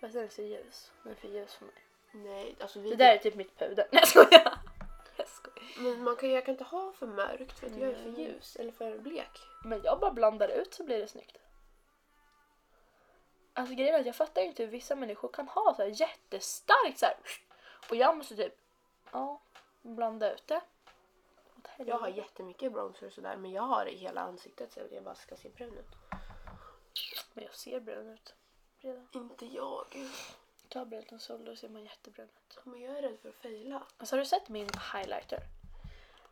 S2: Fast den är så ljus. Den är för ljus för mig.
S1: Nej, alltså vi...
S2: Det där är typ mitt puder. Nej jag skojar. Jag skojar.
S1: Men man kan, jag kan inte ha för mörkt för att jag är för
S2: Nej.
S1: ljus eller för blek.
S2: Men jag bara blandar ut så blir det snyggt. Alltså grejen är att jag fattar inte hur vissa människor kan ha så här jättestarkt så här. Och jag måste typ, ja, blanda ut det. Åt helvete.
S1: Jag har jättemycket bronzer och sådär men jag har det i hela ansiktet så jag bara ska se brun ut.
S2: Men jag ser brun ut. Redan.
S1: Inte jag.
S2: Ta brunt och sol, då ser man jättebrun ut.
S1: Men jag är rädd för att fejla.
S2: Alltså har du sett min highlighter?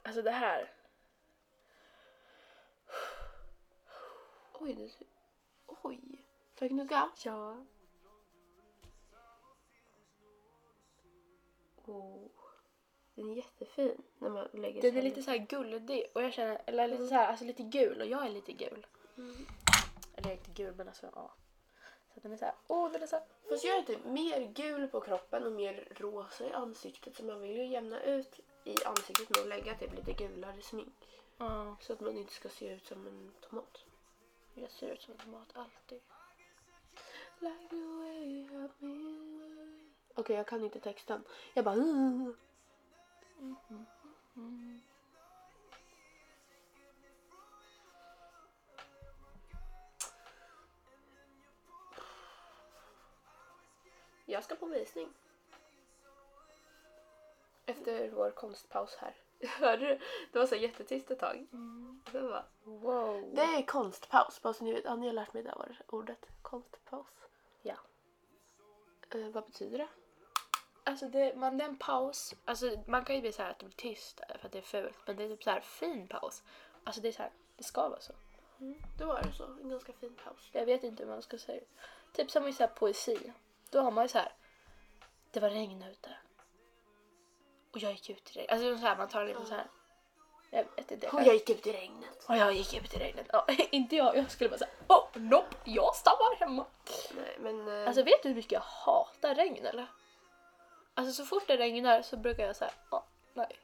S2: Alltså det här.
S1: Oj, det ser... Oj. Får jag gnugga?
S2: Ja.
S1: Oh. Den är jättefin när man lägger
S2: Den är
S1: sig
S2: lite så här guldig och jag känner, eller lite så här, alltså lite gul och jag är lite gul.
S1: Mm.
S2: Eller jag är inte gul men alltså ja. Så att den är så här, åh den är så här.
S1: Fast jag är typ mer gul på kroppen och mer rosa i ansiktet så man vill ju jämna ut i ansiktet med att lägga typ lite gulare smink.
S2: Ja.
S1: Så att man inte ska se ut som en tomat.
S2: Jag ser ut som en tomat alltid.
S1: Like the way you have me. Okej, jag kan inte texten. Jag bara... "Mm." Jag ska på visning. Efter vår konstpaus här. Hörde du? Det var så jättetyst ett tag. Och sen bara,
S2: Wow.
S1: det är konstpaus. Bara så ni vet. Ja, ni har lärt mig det här ordet. Konstpaus.
S2: Ja.
S1: Eh, vad betyder det?
S2: Alltså det, man, det är en paus. Alltså man kan ju bli så här att det blir tyst för att det är fult. Men det är typ så här fin paus. Alltså det är så här, det ska vara så.
S1: Då var det så. En ganska fin paus.
S2: Jag vet inte hur man ska säga det. Typ som i så här poesi. Då har man ju så här. Det var regn ute. Och jag gick ut i regnet. Alltså så här, man tar en liten så här. Jag vet inte.
S1: Och jag gick ut i regnet.
S2: och jag gick ut i regnet. Ja, inte jag. Jag skulle bara säga. Oh, nope. Jag stannar hemma.
S1: Nej, men... eh,
S2: Alltså vet du hur mycket jag hatar regn eller? Alltså så fort det regnar så brukar jag säga ja, nej.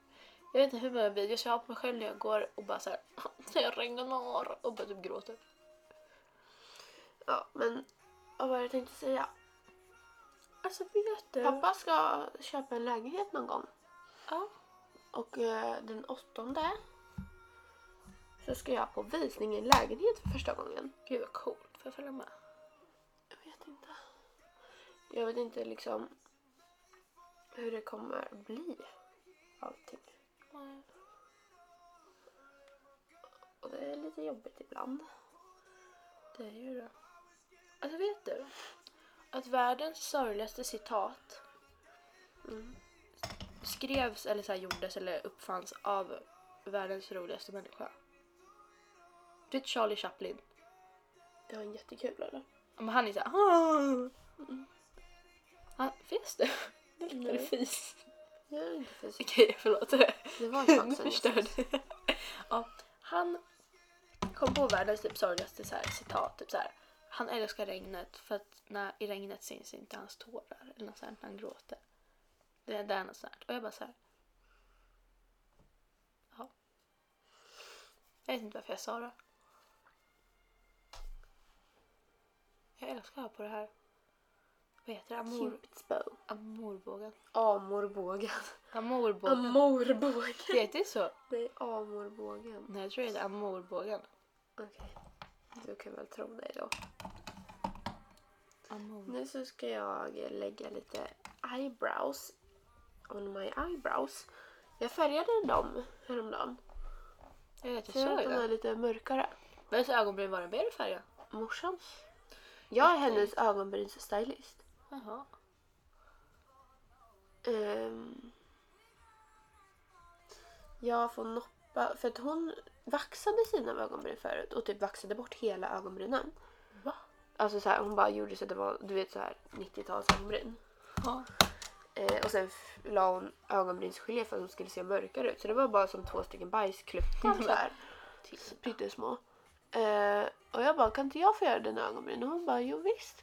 S2: Jag vet inte hur många videos jag har på mig själv när jag går och bara såhär, det regnar och bara typ gråter.
S1: Ja, men... Vad var det jag tänkte säga?
S2: Alltså vet du?
S1: Pappa ska köpa en lägenhet någon gång.
S2: Ja.
S1: Och eh, den åttonde så ska jag på visning i en lägenhet för första gången.
S2: Gud vad coolt, får jag följa med?
S1: Jag vet inte. Jag vet inte liksom hur det kommer bli allting. Och det är lite jobbigt ibland.
S2: Det är ju det. Alltså vet du? Att världens sorgligaste citat
S1: Mm.
S2: skrevs eller så här gjordes eller uppfanns av världens roligaste människa. Du vet Charlie Chaplin?
S1: Det var en jättekul eller?
S2: Ja, Men han är såhär... "Ah." Han, fes du? Mm, Det luktade
S1: Nej.
S2: fis.
S1: Jag är inte fysik.
S2: Okej, förlåt.
S1: Det var ju
S2: Nu
S1: faktiskt en
S2: förstörde jag. ja, Han kom på världens typ sorgligaste så här, citat. Typ så här, han älskar regnet för att när, i regnet syns inte hans tårar. Eller något sånt, när han gråter. Det är där något sånt. Och jag bara så här. Ja. Jag vet inte varför jag sa det. Jag älskar på det här. Vad heter det? Amor,
S1: Cupid's bow.
S2: amorbågen.
S1: Amorbågen.
S2: Amorbågen.
S1: Amorbågen.
S2: Heter det så?
S1: Nej, amorbågen.
S2: Nej, jag tror det heter amorbågen.
S1: Okej. Du kan väl tro dig då.
S2: Amor.
S1: Nu så ska jag lägga lite eyebrows on my eyebrows. Jag färgade dem häromdagen.
S2: Jag vet, jag
S1: Ser du att
S2: såg
S1: de är
S2: det.
S1: lite mörkare?
S2: Vems ögonbryn var den? Blev du färgad?
S1: Morsans. Jag är hennes ögonbrynsstylist.
S2: Jaha.
S1: Um, jag får noppa, för att hon vaxade sina ögonbryn förut och typ vaxade bort hela ögonbrynen.
S2: Va?
S1: Alltså så här, hon bara gjorde så att det var, du vet så här 90-tals ögonbryn.
S2: Ja.
S1: Eh, och sen f- la hon ögonbrynsgelé för att hon skulle se mörkare ut. Så det var bara som två stycken bajskluttar så här.
S2: Titta.
S1: Pyttesmå. Eh, och jag bara, kan inte jag få göra dina ögonbryn? Och hon bara, jo visst.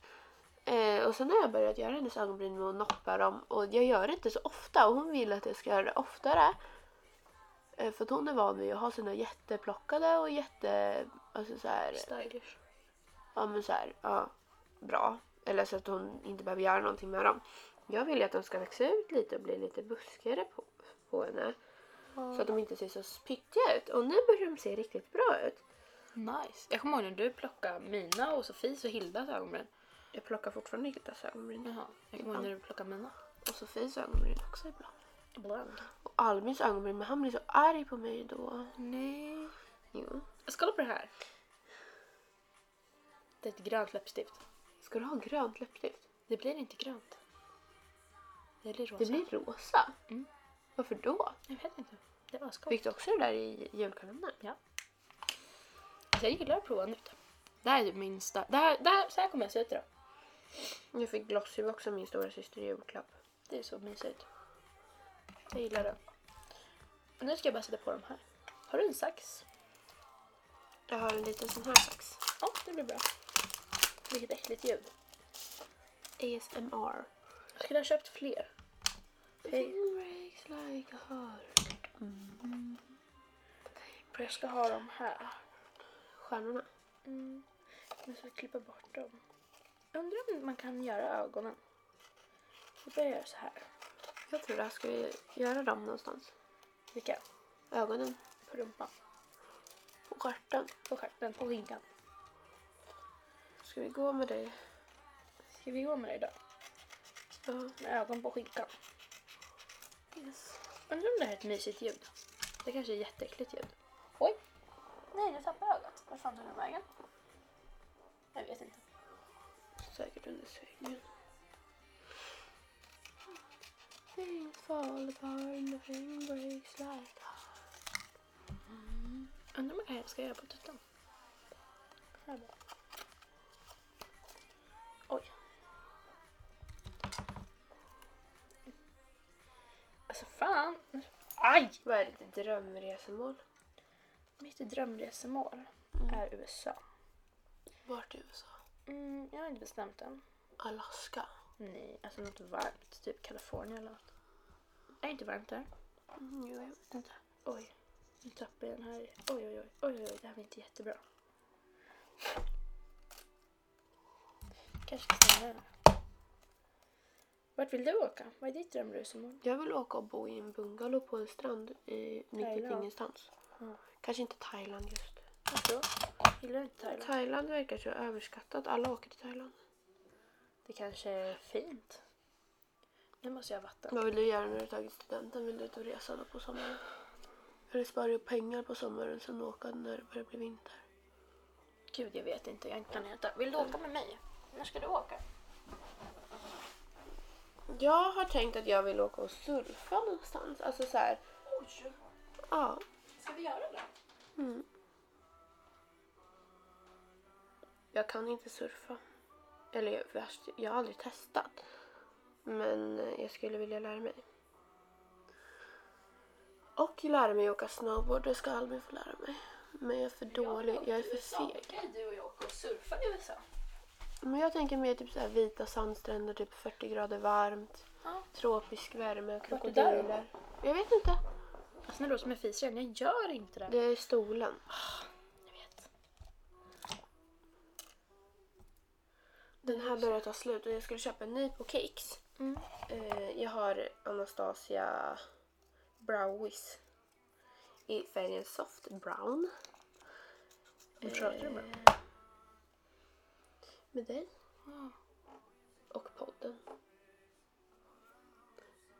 S1: Eh, och sen har jag börjat göra hennes ögonbryn med att noppa dem. Och jag gör det inte så ofta och hon vill att jag ska göra det oftare. Eh, för att hon är van vid att ha sina jätteplockade och jätte... Alltså så här,
S2: Stylish.
S1: ja men så här, ja, bra. Eller så att hon inte behöver göra någonting med dem. Jag vill ju att de ska växa ut lite och bli lite buskigare på, på henne. Så att de inte ser så pyttiga ut. Och nu börjar de se riktigt bra ut.
S2: Nice. Jag kommer ihåg när du plockade mina och Sofies och Hildas ögonbryn.
S1: Jag plockar fortfarande Hildas ögonbryn.
S2: Jaha. Jag kommer ihåg när du plockade mina.
S1: Och Sofies ögonbryn också ibland.
S2: Ibland.
S1: Och Albins ögonbryn, men han blir så arg på mig då.
S2: Nej.
S1: Jo.
S2: Jag ska kolla på det här. Det är ett grönt läppstift.
S1: Ska du ha grönt läppstift?
S2: Det blir inte grönt. Det blir rosa.
S1: Det blir rosa.
S2: Mm.
S1: Varför då?
S2: Jag vet inte. Det var skoj.
S1: Fick du också det där i julkalendern?
S2: Alltså, jag gillar att prova nytt. Det här är typ min star- det här, det här, Så här kommer jag se ut idag.
S1: Jag fick Glossybox av min stora syster i julklapp.
S2: Det är så mysigt. Jag gillar det. Och nu ska jag bara sätta på de här. Har du en sax?
S1: Jag har en liten sån här sax.
S2: Ja, det blir bra. Vilket äckligt ljud.
S1: ASMR.
S2: Jag skulle ha köpt fler. Hej.
S1: Breaks like a heart.
S2: För jag ska ha de här.
S1: Stjärnorna.
S2: Mm. Jag ska klippa bort dem. Undrar om man kan göra ögonen. Vi börjar göra så här.
S1: Jag tror det här ska vi göra dem någonstans.
S2: Vilka?
S1: Ögonen,
S2: På rumpan.
S1: på stjärten.
S2: På stjärten. På skinkan.
S1: Ska vi gå med dig?
S2: Ska vi gå med det idag?
S1: Ja.
S2: Med ögon på skinkan.
S1: Yes.
S2: Undrar om det här är ett mysigt ljud.
S1: Det kanske är jätteäckligt ljud.
S2: Oj! Nej, nu tappade jag ögat. Vart fan tog den vägen? Jag vet inte.
S1: Säkert under sängen. Things fall apart, nothing breaks like
S2: Undrar om jag kanske ska göra på tuttan.
S1: Här bara.
S2: Oj. Alltså fan. Aj!
S1: Vad är ditt drömresemål?
S2: Mitt drömresemål är USA.
S1: Vart i USA?
S2: Mm, jag har inte bestämt än.
S1: Alaska.
S2: Nej, alltså något varmt. Typ Kalifornien eller något. Är det inte varmt där?
S1: Mm, jo, jag vet inte.
S2: Oj, nu tappade jag den här. Oj, oj, oj, oj, oj, det här var inte jättebra. Kanske ska stanna här. Vart vill du åka? Vad är ditt drömresemål?
S1: Jag vill åka och bo i en bungalow på en strand i mitt
S2: Thailand.
S1: uppe ingenstans.
S2: Mm.
S1: Kanske inte Thailand just.
S2: Varför då? Gillar du inte Thailand?
S1: Thailand verkar så överskattat. Alla åker till Thailand.
S2: Det kanske är fint. Nu måste jag ha vatten.
S1: Vad vill du göra när du tagit studenten? Vill du ut och resa då på sommaren? Eller spara ihop pengar på sommaren sen åka när det börjar bli vinter?
S2: Gud, jag vet inte. Jag har inte planerat det. Vill du åka med mig? När ska du åka?
S1: Jag har tänkt att jag vill åka och surfa någonstans. Alltså så här,
S2: Oj,
S1: ja.
S2: ska vi göra det?
S1: Mm. Jag kan inte surfa. Eller jag- värst, jag har aldrig testat. Men eh, jag skulle vilja lära mig. Och lära mig åka snowboard, det ska Albin få lära mig. Men jag är för dålig, jag är för feg.
S2: Kan du och jag åka och surfa i USA?
S1: Men jag tänker mer typ så här vita sandstränder, typ 40 grader varmt,
S2: Ja.
S1: tropisk värme,
S2: Vart är det där då?
S1: krokodiler. Jag vet inte.
S2: Alltså, nu låter som en fis igen. Jag gör inte det.
S1: Det är stolen.
S2: Jag vet.
S1: Den här börjar ta slut och jag skulle köpa en ny på Cakes.
S2: Mm.
S1: Eh, jag har Anastasia Browies i färgen soft brown.
S2: Vad pratar du med?
S1: Med dig
S2: Ja.
S1: och podden.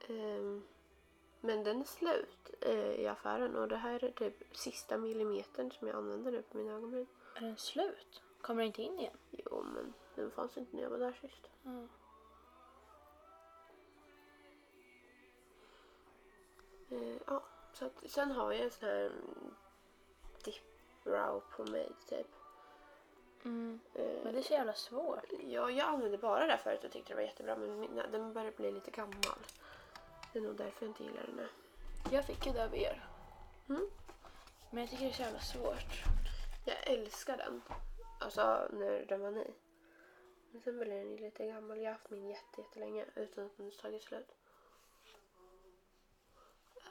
S1: Ehm, men den är slut eh, i affären och det här är typ sista millimetern som jag använder nu på mina ögonbryn.
S2: Är den slut? Kommer den inte in igen?
S1: Jo men den fanns inte när jag var där sist. Eh, ja, så att, sen har jag en sån här mm, dip-brow på mig typ.
S2: Mm.
S1: Eh,
S2: Men det är så jävla svårt.
S1: ja, jag använde bara det här förut och tyckte det var jättebra men mina, den börjar bli lite gammal. Det är nog därför jag inte gillar den nu.
S2: Jag fick ju det av er.
S1: Mm.
S2: Men jag tycker det är så jävla svårt.
S1: Jag älskar den. Alltså när den var ny. Men sen blev den ju lite gammal. Jag har haft min jätte, jättelänge utan att den tagit slut.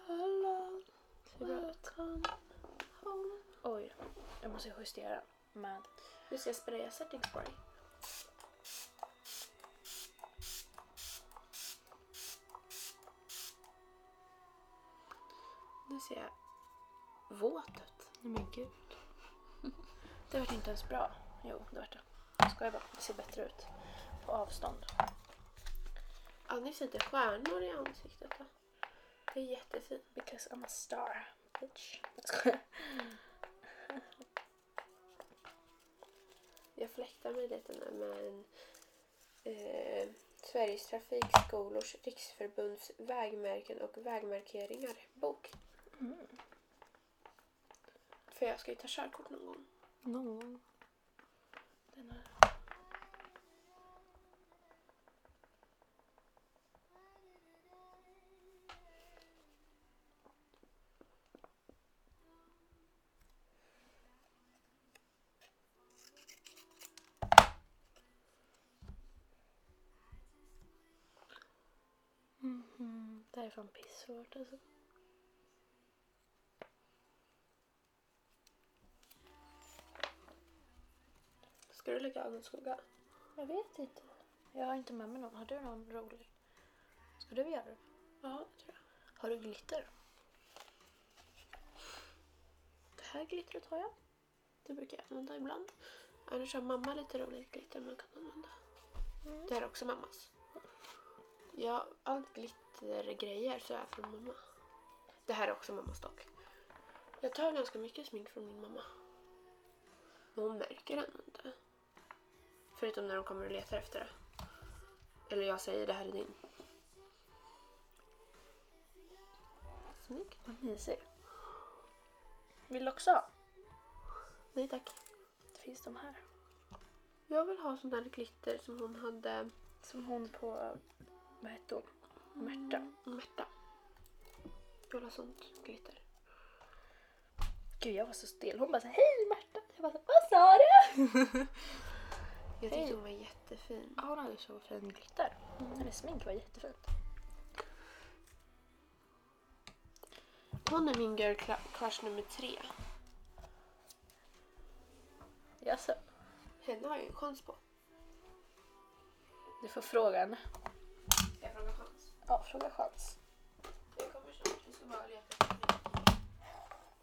S1: Alla
S2: Det är bra.
S1: welcome home.
S2: Oj, jag måste justera med...
S1: Nu ska jag spraya setting spray. Nu ser jag våt ut.
S2: Men gud. Det vart inte ens bra. Jo, det vart det. Jag skojar bara. Det ser bättre ut. På avstånd.
S1: Annis inte stjärnor i ansiktet. Då. Det är jättefint.
S2: Because I'm a star. Bitch. Jag skojar.
S1: Jag fläktar mig lite nu med en eh, Sveriges Trafikskolors Riksförbunds vägmärken och vägmarkeringar bok. Mm. För jag ska ju ta körkort någon gång.
S2: Någon gång. Den här. Mhm, Det här är fan pissvårt alltså.
S1: Ska du lägga Annas skugga?
S2: Jag vet inte. Jag har inte med mig någon. Har du någon rolig? Ska du göra det?
S1: Ja, det tror jag.
S2: Har du glitter?
S1: Det här glittret har jag. Det brukar jag använda ibland. Annars har mamma lite roligt glitter man kan använda. Det här är också mammas. Ja, allt glittergrejer så är från mamma. Det här är också mammas dock. Jag tar ganska mycket smink från min mamma. Men hon märker det ändå inte. Förutom när de kommer och letar efter det. Eller jag säger det här är din. Snyggt.
S2: Vad mysig. Vill du också ha?
S1: Nej tack.
S2: Det finns de här.
S1: Jag vill ha sån där glitter som hon hade,
S2: Som hon på... Vad hette hon? Märta.
S1: Märta. Jag vill ha sånt glitter.
S2: Gud jag var så stel. Hon bara så här, hej Märta. Jag bara så här, vad sa du?
S1: Jag
S2: Hej.
S1: tyckte hon var jättefin.
S2: Ja, hon hade så fin glitter. Mm, Hennes smink var jättefint.
S1: Hon är min girl cla- crush nummer tre.
S2: Jaså?
S1: Henne har jag ju chans på.
S2: Du får fråga henne.
S1: Jag frågar chans.
S2: Ja, fråga chans.
S1: Jag kommer snart. Jag ska bara leta efter min.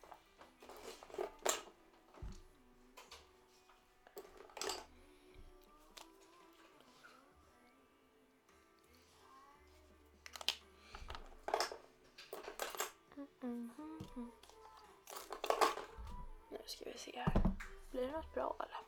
S2: Nu ska vi se här. Blir det något bra eller?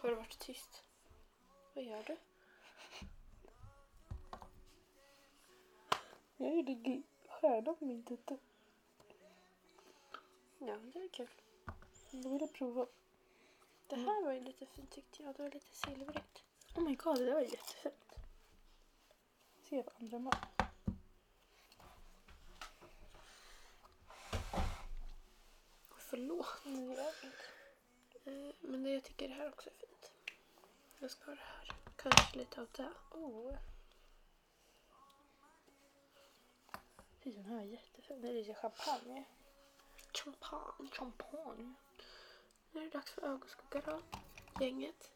S1: Har du varit tyst? Vad gör du?
S2: Jag gjorde stjärna på min tutte.
S1: Ja, det är kul.
S2: Jag ville prova.
S1: Det här var ju lite fint tyckte jag. Det var lite silvrigt.
S2: Mm. Oh my god, det där var jättefint. Se på andra man.
S1: Förlåt.
S2: Mm,
S1: Eh, Men det, jag tycker det här också är fint. Jag ska ha det här. Kanske lite av det.
S2: Oh. Fy, den här var jättefin. Det är lite champagne.
S1: Champagne.
S2: Champagne?
S1: Nu är det dags för ögonskugga då. Gänget.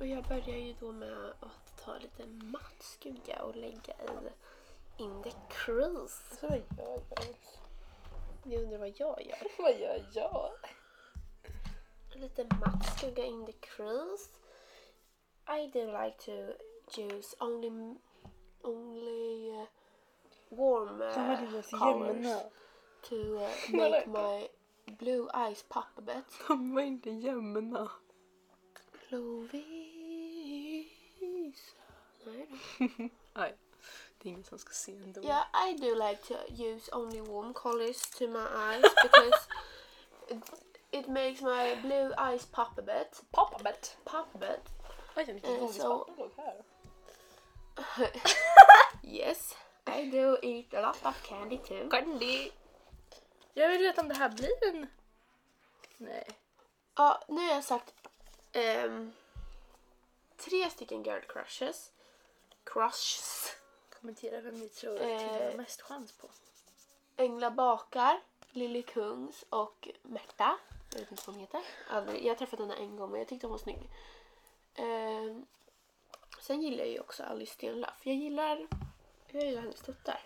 S1: Och jag börjar ju då med att ta lite matt skugga och lägga i in the crease.
S2: Så Alltså, vad gör jag?
S1: Ni undrar vad jag gör?
S2: Vad gör jag?
S1: lite matt skugga in the crease. I do like to use only only uh, warm
S2: Det här är
S1: uh,
S2: deras
S1: colors
S2: jämna.
S1: to uh,
S2: Men
S1: make
S2: like-
S1: my blue eyes pop a bit.
S2: De var inte jämna.
S1: Lovisa. Nej då.
S2: Nej, det är ingen som ska se ändå.
S1: Yeah, I do like to use only warm colors to my eyes because it, it makes my blue eyes pop a bit.
S2: Pappabett!
S1: Pop a bit.
S2: Oj, vilket
S1: Eh,
S2: godispapper låg här.
S1: Yes, I do eat a lot of candy too.
S2: Candy! Jag vill veta om det här blir en... Nej.
S1: Ja, nu har jag sagt ehm, tre stycken girl crushes. Crushes.
S2: Kommentera vem ni tror
S1: Eh.
S2: att ni har mest chans på.
S1: Engla Bakar, Lilly Kungs och Märta. Jag vet inte vad hon heter. Aldrig. Jag har träffat henne en gång men jag tyckte hon var snygg. Ehm, sen gillar jag ju också Alice Stenlöf. Jag gillar, jag gillar hennes tuttar.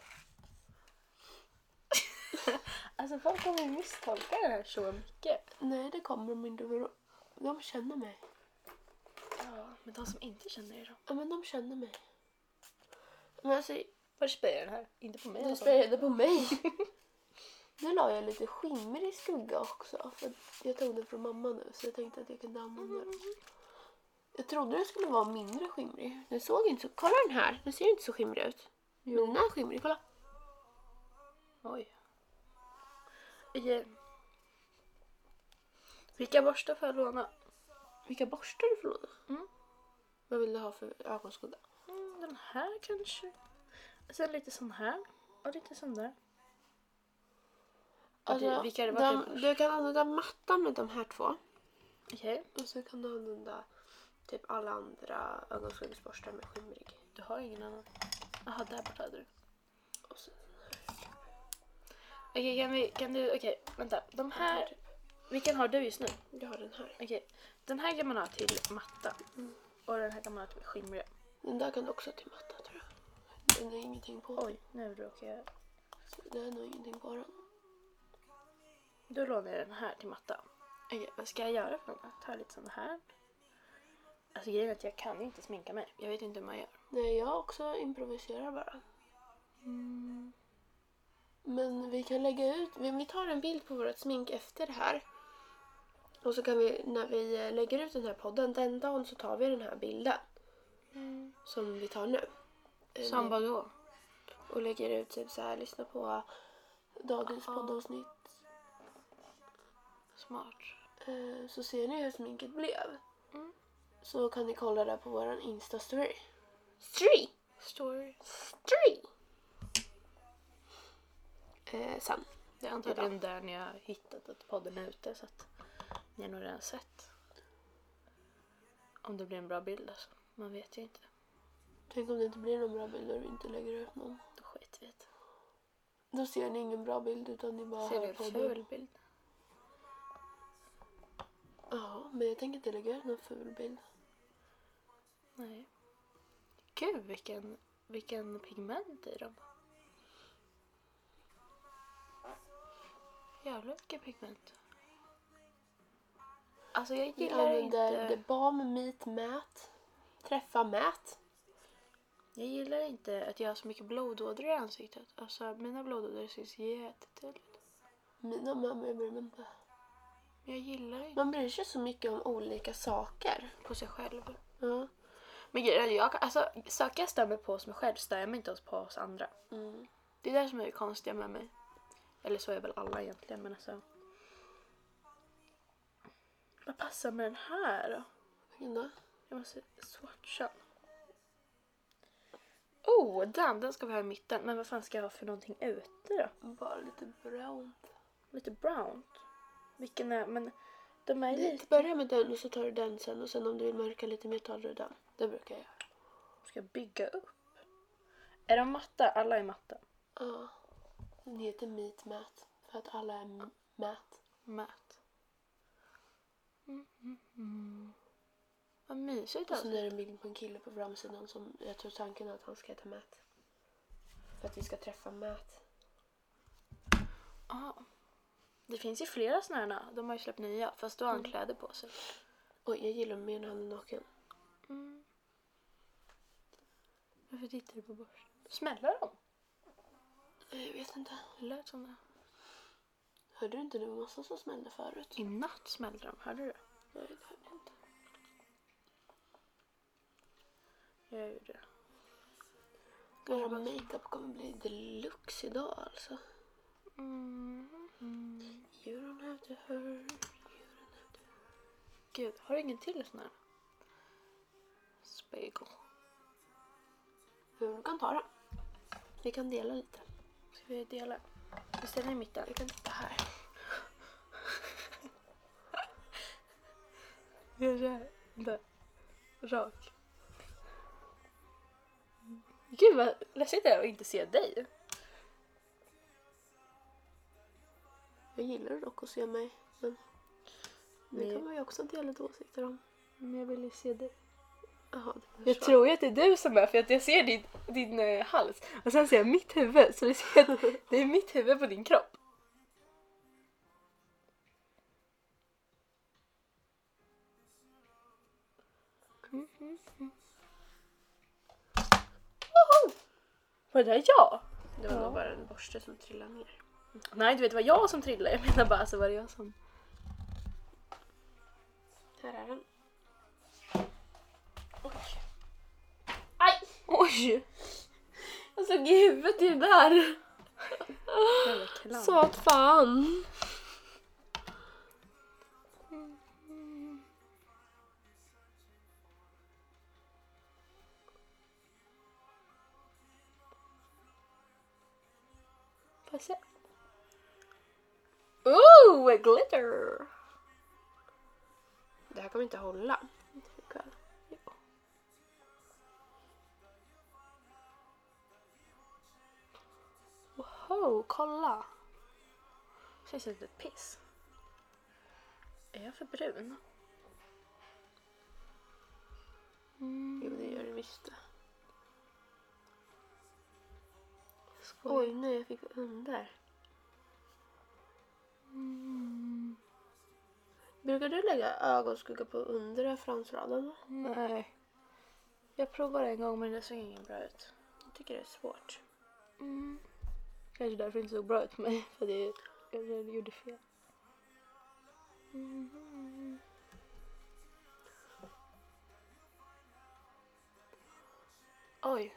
S2: Alltså folk kommer ju misstolka det här så mycket.
S1: Nej, det kommer de inte. för de- De känner mig.
S2: Ja, men de som inte känner det då?
S1: Ja, men de känner mig. Men alltså,
S2: Var spöar den här? Inte på mig alltså. i
S1: du
S2: alla fall.
S1: spelade på mig. nu la jag lite skimmer i skugga också. För jag tog den från mamma nu så jag tänkte att jag kunde använda
S2: Mm.
S1: den. Jag trodde den skulle vara mindre skimrig. Den såg inte så... Kolla den här! Den ser inte så skimrig ut. Men den är skimrig, kolla!
S2: Oj. I, eh, vilka borstar får jag låna?
S1: Vilka borstar du får låna.
S2: Mm.
S1: Vad vill du ha för ögonskugga?
S2: Mm, den här kanske? Sen lite sån här. Och lite sån där. Ja, det- vilka är det? Vart är
S1: Alltså, de,
S2: borst?
S1: du kan använda mattan med de här två.
S2: Okej.
S1: Och så kan du använda typ alla andra ögonskuggsborstar med skimrig.
S2: Du har ingen annan? Jaha, där borta hade du.
S1: Och så,
S2: Okej, kan vi... Kan du... Okej, vänta. De här... Vilken har du just nu?
S1: jag har den här.
S2: Okej, den här kan man ha till matta. Och den här kan man ha till skimriga.
S1: Den där kan du också ha till matta tror jag. Den är ingenting på.
S2: Oj, nu råkar jag...
S1: Det är nog ingenting på den.
S2: Då lånar jag den här till matta. Okej, vad ska jag göra för något? Ta lite sån här. Alltså grejen är att jag kan ju inte sminka mig. Jag vet inte hur man gör.
S1: Nej, jag också improviserar bara. Men vi kan lägga ut, vi vi tar en bild på vårt smink efter det här. Och så kan vi, när vi eh, lägger ut den här podden, den dagen så tar vi den här bilden. Som vi tar nu. Eh,
S2: Som vadå?
S1: Och lägger ut typ så här, lyssna på dagens
S2: Ja.
S1: poddavsnitt.
S2: Smart.
S1: Eh, Så ser ni hur sminket blev.
S2: Mm.
S1: Så kan ni kolla där på våran Insta-story. Story!
S2: Story.
S1: Story! Eh, sen.
S2: Det är antagligen där ni har hittat att podden är ute så att ni har nog redan sett. Om det blir en bra bild alltså. Man vet ju inte.
S1: Tänk om det inte blir någon bra bild och vi inte lägger ut någon.
S2: Då skiter vi i det.
S1: Då ser ni ingen bra bild utan ni bara
S2: Ser
S1: hör
S2: du
S1: på
S2: en
S1: den.
S2: ful bild?
S1: Ja, men jag tänker inte lägga ut någon ful bild.
S2: Nej. Gud vilken, vilken pigment i dem. Jävlar vilken pigment. Alltså jag
S1: Vi
S2: gillar
S1: använder
S2: inte...
S1: The Balm Meat Mät. Träffa Mät.
S2: Jag gillar inte att jag har så mycket blodådror i ansiktet. Alltså mina blodådror syns jättetydligt.
S1: Mina mamma jag bryr mig inte.
S2: Men jag gillar inte
S1: Man bryr sig så mycket om olika saker.
S2: på sig själv.
S1: Ja.
S2: Men grejen är att jag kan, alltså saker jag stör mig på hos mig själv stör jag mig inte på hos andra.
S1: Mm.
S2: Det är det som är det konstiga med mig. Eller så är väl alla egentligen men alltså. Vad passar med den här då?
S1: Linda?
S2: Jag måste swatcha. Oh, den, den ska vi ha i mitten. Men vad fan ska jag ha för någonting ute då?
S1: Bara lite brownt.
S2: Lite brownt. Vilken är, men de är
S1: Du
S2: lite...
S1: börjar med den och så tar du den sen och sen om du vill mörka lite mer tar du den. Det brukar jag göra.
S2: Ska jag bygga upp? Är de matta? Alla är matta.
S1: Ja. Den heter Meat Mat för att alla är m- mät.
S2: Mät. Mm, mm, mm. Vad mysigt
S1: Och sen
S2: alltså.
S1: är det en bild på en kille på framsidan som jag tror tanken är att han ska heta Matt. För att vi ska träffa Matt.
S2: Ah. Det finns ju flera sådana här. De har ju släppt nya fast då har han kläder på sig.
S1: Och jag gillar honom mer när han är naken.
S2: Mm. Varför tittar du på borsten? Smäller de?
S1: Nej, Jag vet inte.
S2: Det lät som det.
S1: Hörde du inte det var massa som smällde förut?
S2: I natt smällde de, hörde du?
S1: Nej, det hörde jag inte.
S2: Jag gjorde det.
S1: Vår makeup kommer bli deluxe idag alltså.
S2: Mm. Mm.
S1: You don't have to hurt.
S2: Gud, har du ingen till sån här? Spegel.
S1: Men Du kan ta den. Vi kan dela lite.
S2: Ska vi dela? Vi ställer i mitten.
S1: Jag kan titta här.
S2: Jag är inte rak. Gud vad läskigt det är att inte se dig.
S1: Jag gillar dock att se mig. Men det
S2: Nej.
S1: kan man ju också dela lite åsikter om.
S2: Men jag vill ju se dig.
S1: Jaha, det
S2: Jag tror ju att det är du som är för att jag ser din, din eh, hals och sen ser jag mitt huvud så du ser att det är mitt huvud på din kropp. Var det där jag?
S1: Det var
S2: Ja.
S1: nog bara en borste som trillade ner.
S2: Nej du vet det var jag som trillade. Jag menar bara alltså var det jag som...
S1: Här är den. Oj.
S2: Aj! Oj!
S1: Alltså gud, det där!
S2: Jävla clown.
S1: Så att fan!
S2: Får jag se? Oh, glitter!
S1: Det här kommer inte hålla.
S2: Wow, Oh, kolla! Känns lite piss. Är jag för brun?
S1: Jo, det gör det visst.
S2: Skoj.
S1: Oj, nej jag fick under. Brukar du lägga ögonskugga på undre framsraden?
S2: Nej. Jag provade en gång men det såg ingen bra ut.
S1: Jag tycker det är svårt.
S2: Kanske därför det inte såg bra ut på mig. För det, jag gjorde fel. Oj.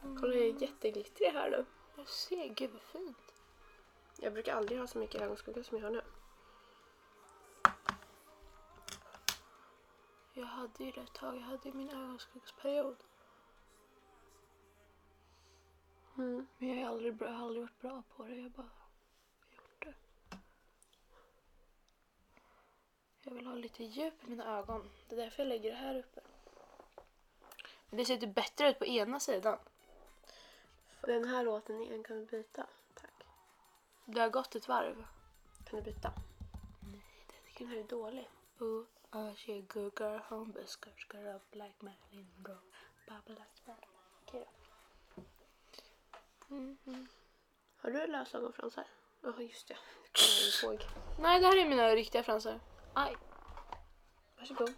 S1: Kolla, jag är jätteglittrig här nu.
S2: Jag ser, gud vad fint.
S1: Jag brukar aldrig ha så mycket ögonskugga som jag har nu.
S2: Jag hade ju det ett tag, jag hade ju min ögonskuggsperiod.
S1: Mm.
S2: Men jag har aldrig, bra- har aldrig varit bra på det, jag bara har gjort det. Jag vill ha lite djup i mina ögon, det är därför jag lägger det här uppe. Men det ser lite bättre ut på ena sidan.
S1: Den här låten igen, kan du byta? Tack.
S2: Det har gått ett varv.
S1: Kan du byta? Mm. Den här är dålig.
S2: Ooh, I she a good girl, humble skirt, skirt up like Marilyn Monroe. Bubble like Marilyn.
S1: Okej då. Har du lösögonfransar? Ja, just det. Jag kommer ihåg.
S2: Nej, det här är mina riktiga fransar. Aj.
S1: Varsågod.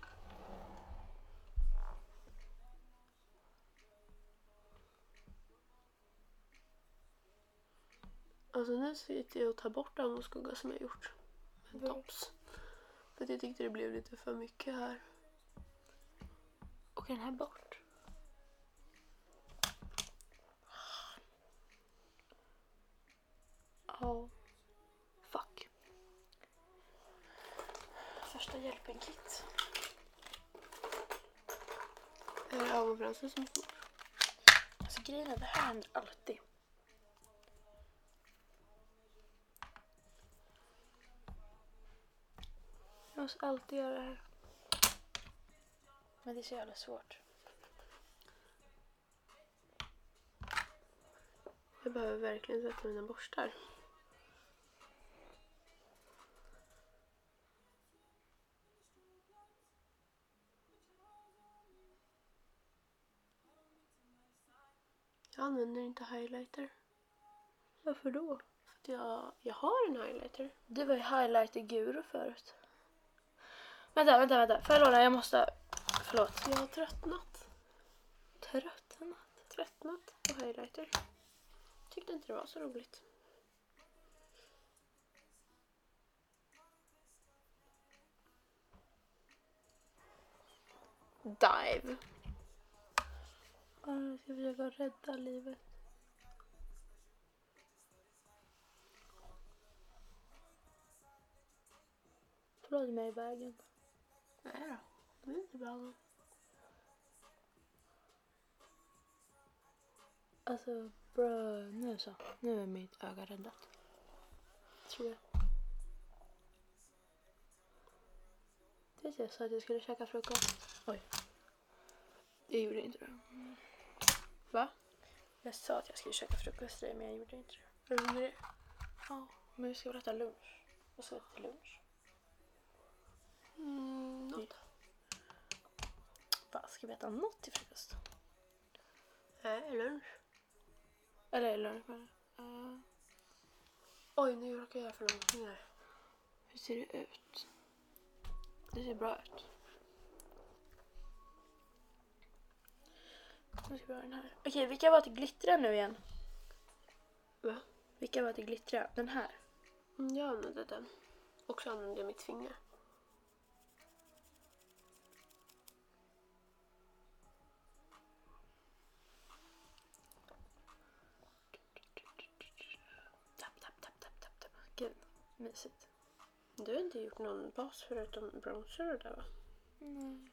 S1: Alltså nu sitter jag och tar bort ögonskugga som jag gjort. Med en
S2: Bra.
S1: tops. För att jag tyckte det blev lite för mycket här.
S2: Och den här bort. Ja. Fuck.
S1: Första hjälpen-kit. Är det ögonfransar som får?
S2: Alltså grejen är det här händer alltid. Jag måste alltid göra det här. Men det är så jävla svårt.
S1: Jag behöver verkligen tvätta mina borstar. Jag använder inte highlighter.
S2: Varför då?
S1: För att jag, jag har en highlighter.
S2: Du var ju highlighter-guru förut. Vänta, vänta, vänta. Får jag låna? Jag måste... Förlåt.
S1: Jag har tröttnat.
S2: Tröttnat.
S1: Tröttnat på highlighter. Tyckte inte det var så roligt.
S2: Dive. Bara ska försöka rädda livet. Förlåt mig i vägen.
S1: Nej då. Det är inte bra.
S2: Alltså bro, nu så. Nu är mitt öga räddat. Tror jag. Det är jag sa att jag skulle käka frukost. Oj. Jag gjorde inte det.
S1: Va?
S2: Jag sa att jag skulle käka frukost till dig, men jag gjorde inte det.
S1: Är du hungrig?
S2: Ja, men vi ska väl äta lunch? Vad ska vi äta till lunch?
S1: Mm, något.
S2: Va, ska vi äta något till frukost?
S1: Nej, lunch.
S2: Eller lunch menar jag.
S1: Mm.
S2: Eh,
S1: Oj, nu råkar jag göra förlossningar.
S2: Hur ser det ut? Det ser bra ut. Nu ska vi ha den här. Okej, vilka var till glittra nu igen?
S1: Va?
S2: Vilka var till glittra? Den här.
S1: Mm, Jag använde den. Och så använde jag mitt finger.
S2: Tapp, tapp, tapp, tapp, tapp, tapp. Gud, mysigt.
S1: Du har inte gjort någon bas förutom bronzer och det där va?
S2: Mm.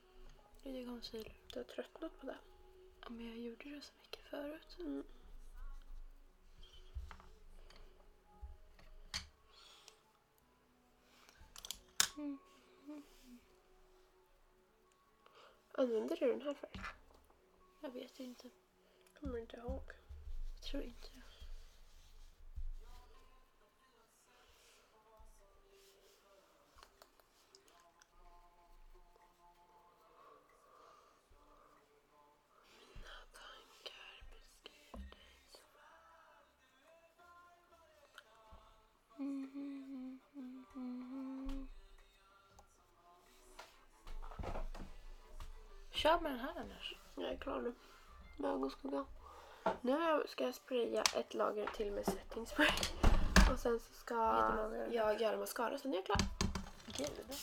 S2: Lite concealer.
S1: Du har tröttnat på det.
S2: Ja, men jag gjorde det så mycket förut.
S1: Mm. Använder du den här färgen?
S2: Jag vet inte.
S1: Kommer inte ihåg.
S2: Jag tror inte det. Kör med den här annars.
S1: Jag är klar nu. Med ögonskugga. Nu ska jag spraya ett lager till med setting spray. Och sen så ska
S2: Jättelager.
S1: jag göra mascara sen är jag klar.
S2: Gud.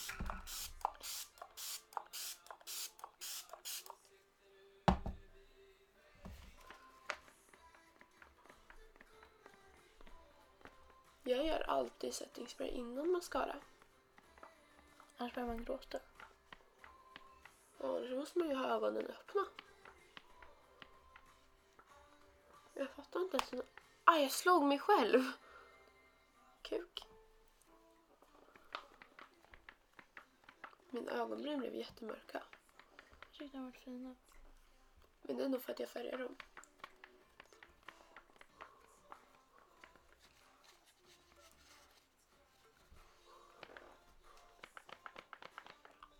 S1: Jag gör alltid setting spray innan mascara.
S2: Annars börjar man gråta.
S1: Ja, Annars måste man ju ha ögonen öppna. Jag fattar inte ens. en- Ah, jag slog mig själv! Kuk. Mina ögonbryn blev jättemörka.
S2: Jag tyckte de var fina.
S1: Men det är nog för att jag färgar dem.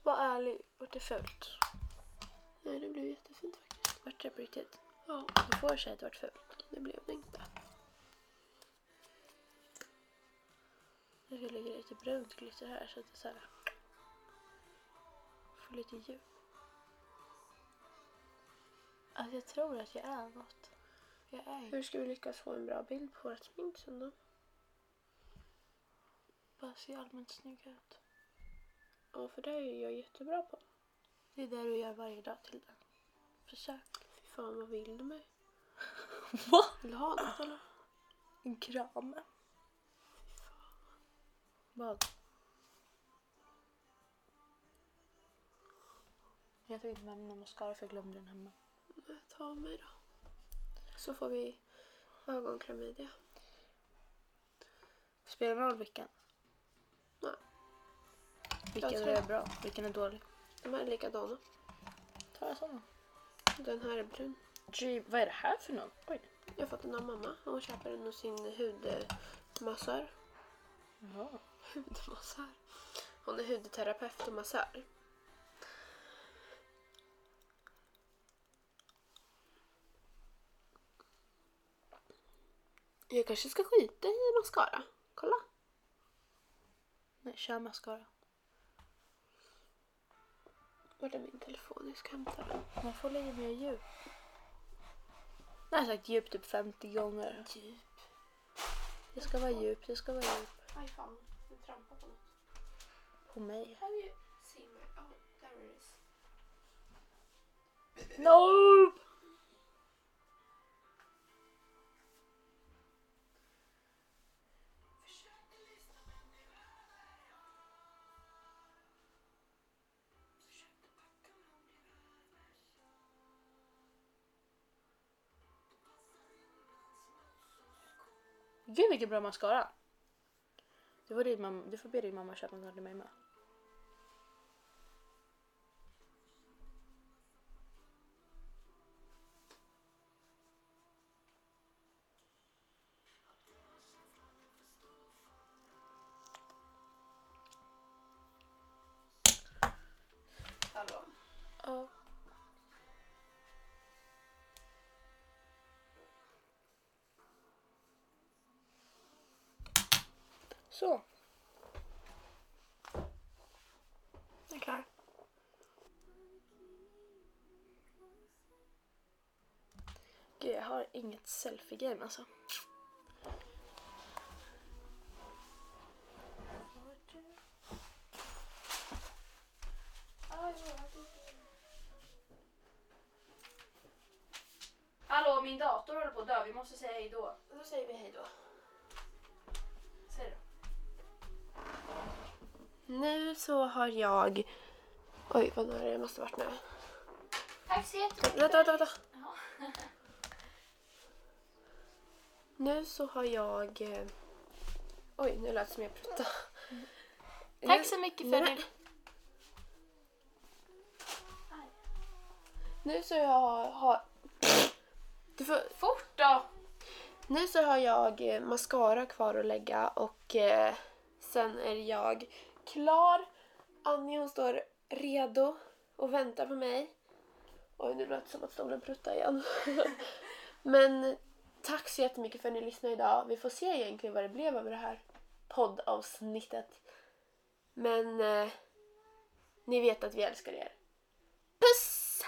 S2: Var ärlig. Vart är fult?
S1: Nej, det blev jättefint faktiskt.
S2: Vart är det på riktigt?
S1: Ja,
S2: Du får säga att det vart fult.
S1: det blev det inte.
S2: Jag ska lägga lite brunt glitter här så att det så här... Får lite djup. Alltså jag tror att jag är något. Jag är
S1: Hur ska vi lyckas få en bra bild på vårt smink sen då?
S2: bara ser allmänt snygg ut.
S1: Ja, för det är jag jättebra på.
S2: Det är det du gör varje dag till den. Försök.
S1: Fy fan, vad vill du mig?
S2: Va?
S1: Vill du ha något eller?
S2: En kram. Vad? Jag tog inte med mig någon mascara för jag glömde den hemma.
S1: Nej, Ta av mig då. Så får vi ögonklamydia.
S2: Spelar någon roll vilken?
S1: Nej.
S2: Vilken
S1: Jag tror-
S2: är bra? Vilken är dålig?
S1: De här är likadana.
S2: Ta en sån.
S1: Den här är brun.
S2: Gee, vad är det här för någon? Oj.
S1: Jag fått den av mamma. Hon köper den hos sin hudmassör.
S2: Jaha.
S1: Hudmassör? Hon är hudterapeut och massör. Jag kanske ska skita i mascara. Kolla.
S2: Nej, kör mascara.
S1: Vart är min telefon? Jag ska hämta den.
S2: Man får lägga mer djup. Jag har sagt djup typ 50 gånger.
S1: Typ.
S2: Det ska vara djup, det ska vara djup.
S1: Aj fan, du trampade på något.
S2: På mig.
S1: Have you seen my... Oh, there it is.
S2: Nope! Gud vilken bra mascara! Du får, din mamma, du får be din mamma köpa något till mig med.
S1: Hallå.
S2: Ja. Så.
S1: Jag är klar.
S2: har inget selfie-game alltså. Hallå, min dator håller på att dö. Vi måste säga hejdå.
S1: Då säger vi hejdå.
S2: Säg då.
S1: Nu så har jag... Oj, vad nära jag måste varit nu.
S2: Tack så jättemycket.
S1: Vänta, vänta, vänta.
S2: Ja.
S1: Nu så har jag... eh, Oj, nu lät det som jag pruttade. Mm.
S2: Tack så mycket för
S1: Nej.
S2: det.
S1: Nu så jag har... Du får...
S2: Fort då!
S1: Nu så har jag eh, mascara kvar att lägga och eh, sen är jag klar. Annie hon står redo och väntar på mig. Oj, nu lät det som att stolen pruttade igen. Men tack så jättemycket för att ni lyssnade idag. Vi får se egentligen vad det blev av det här poddavsnittet. Men eh, ni vet att vi älskar er. Puss!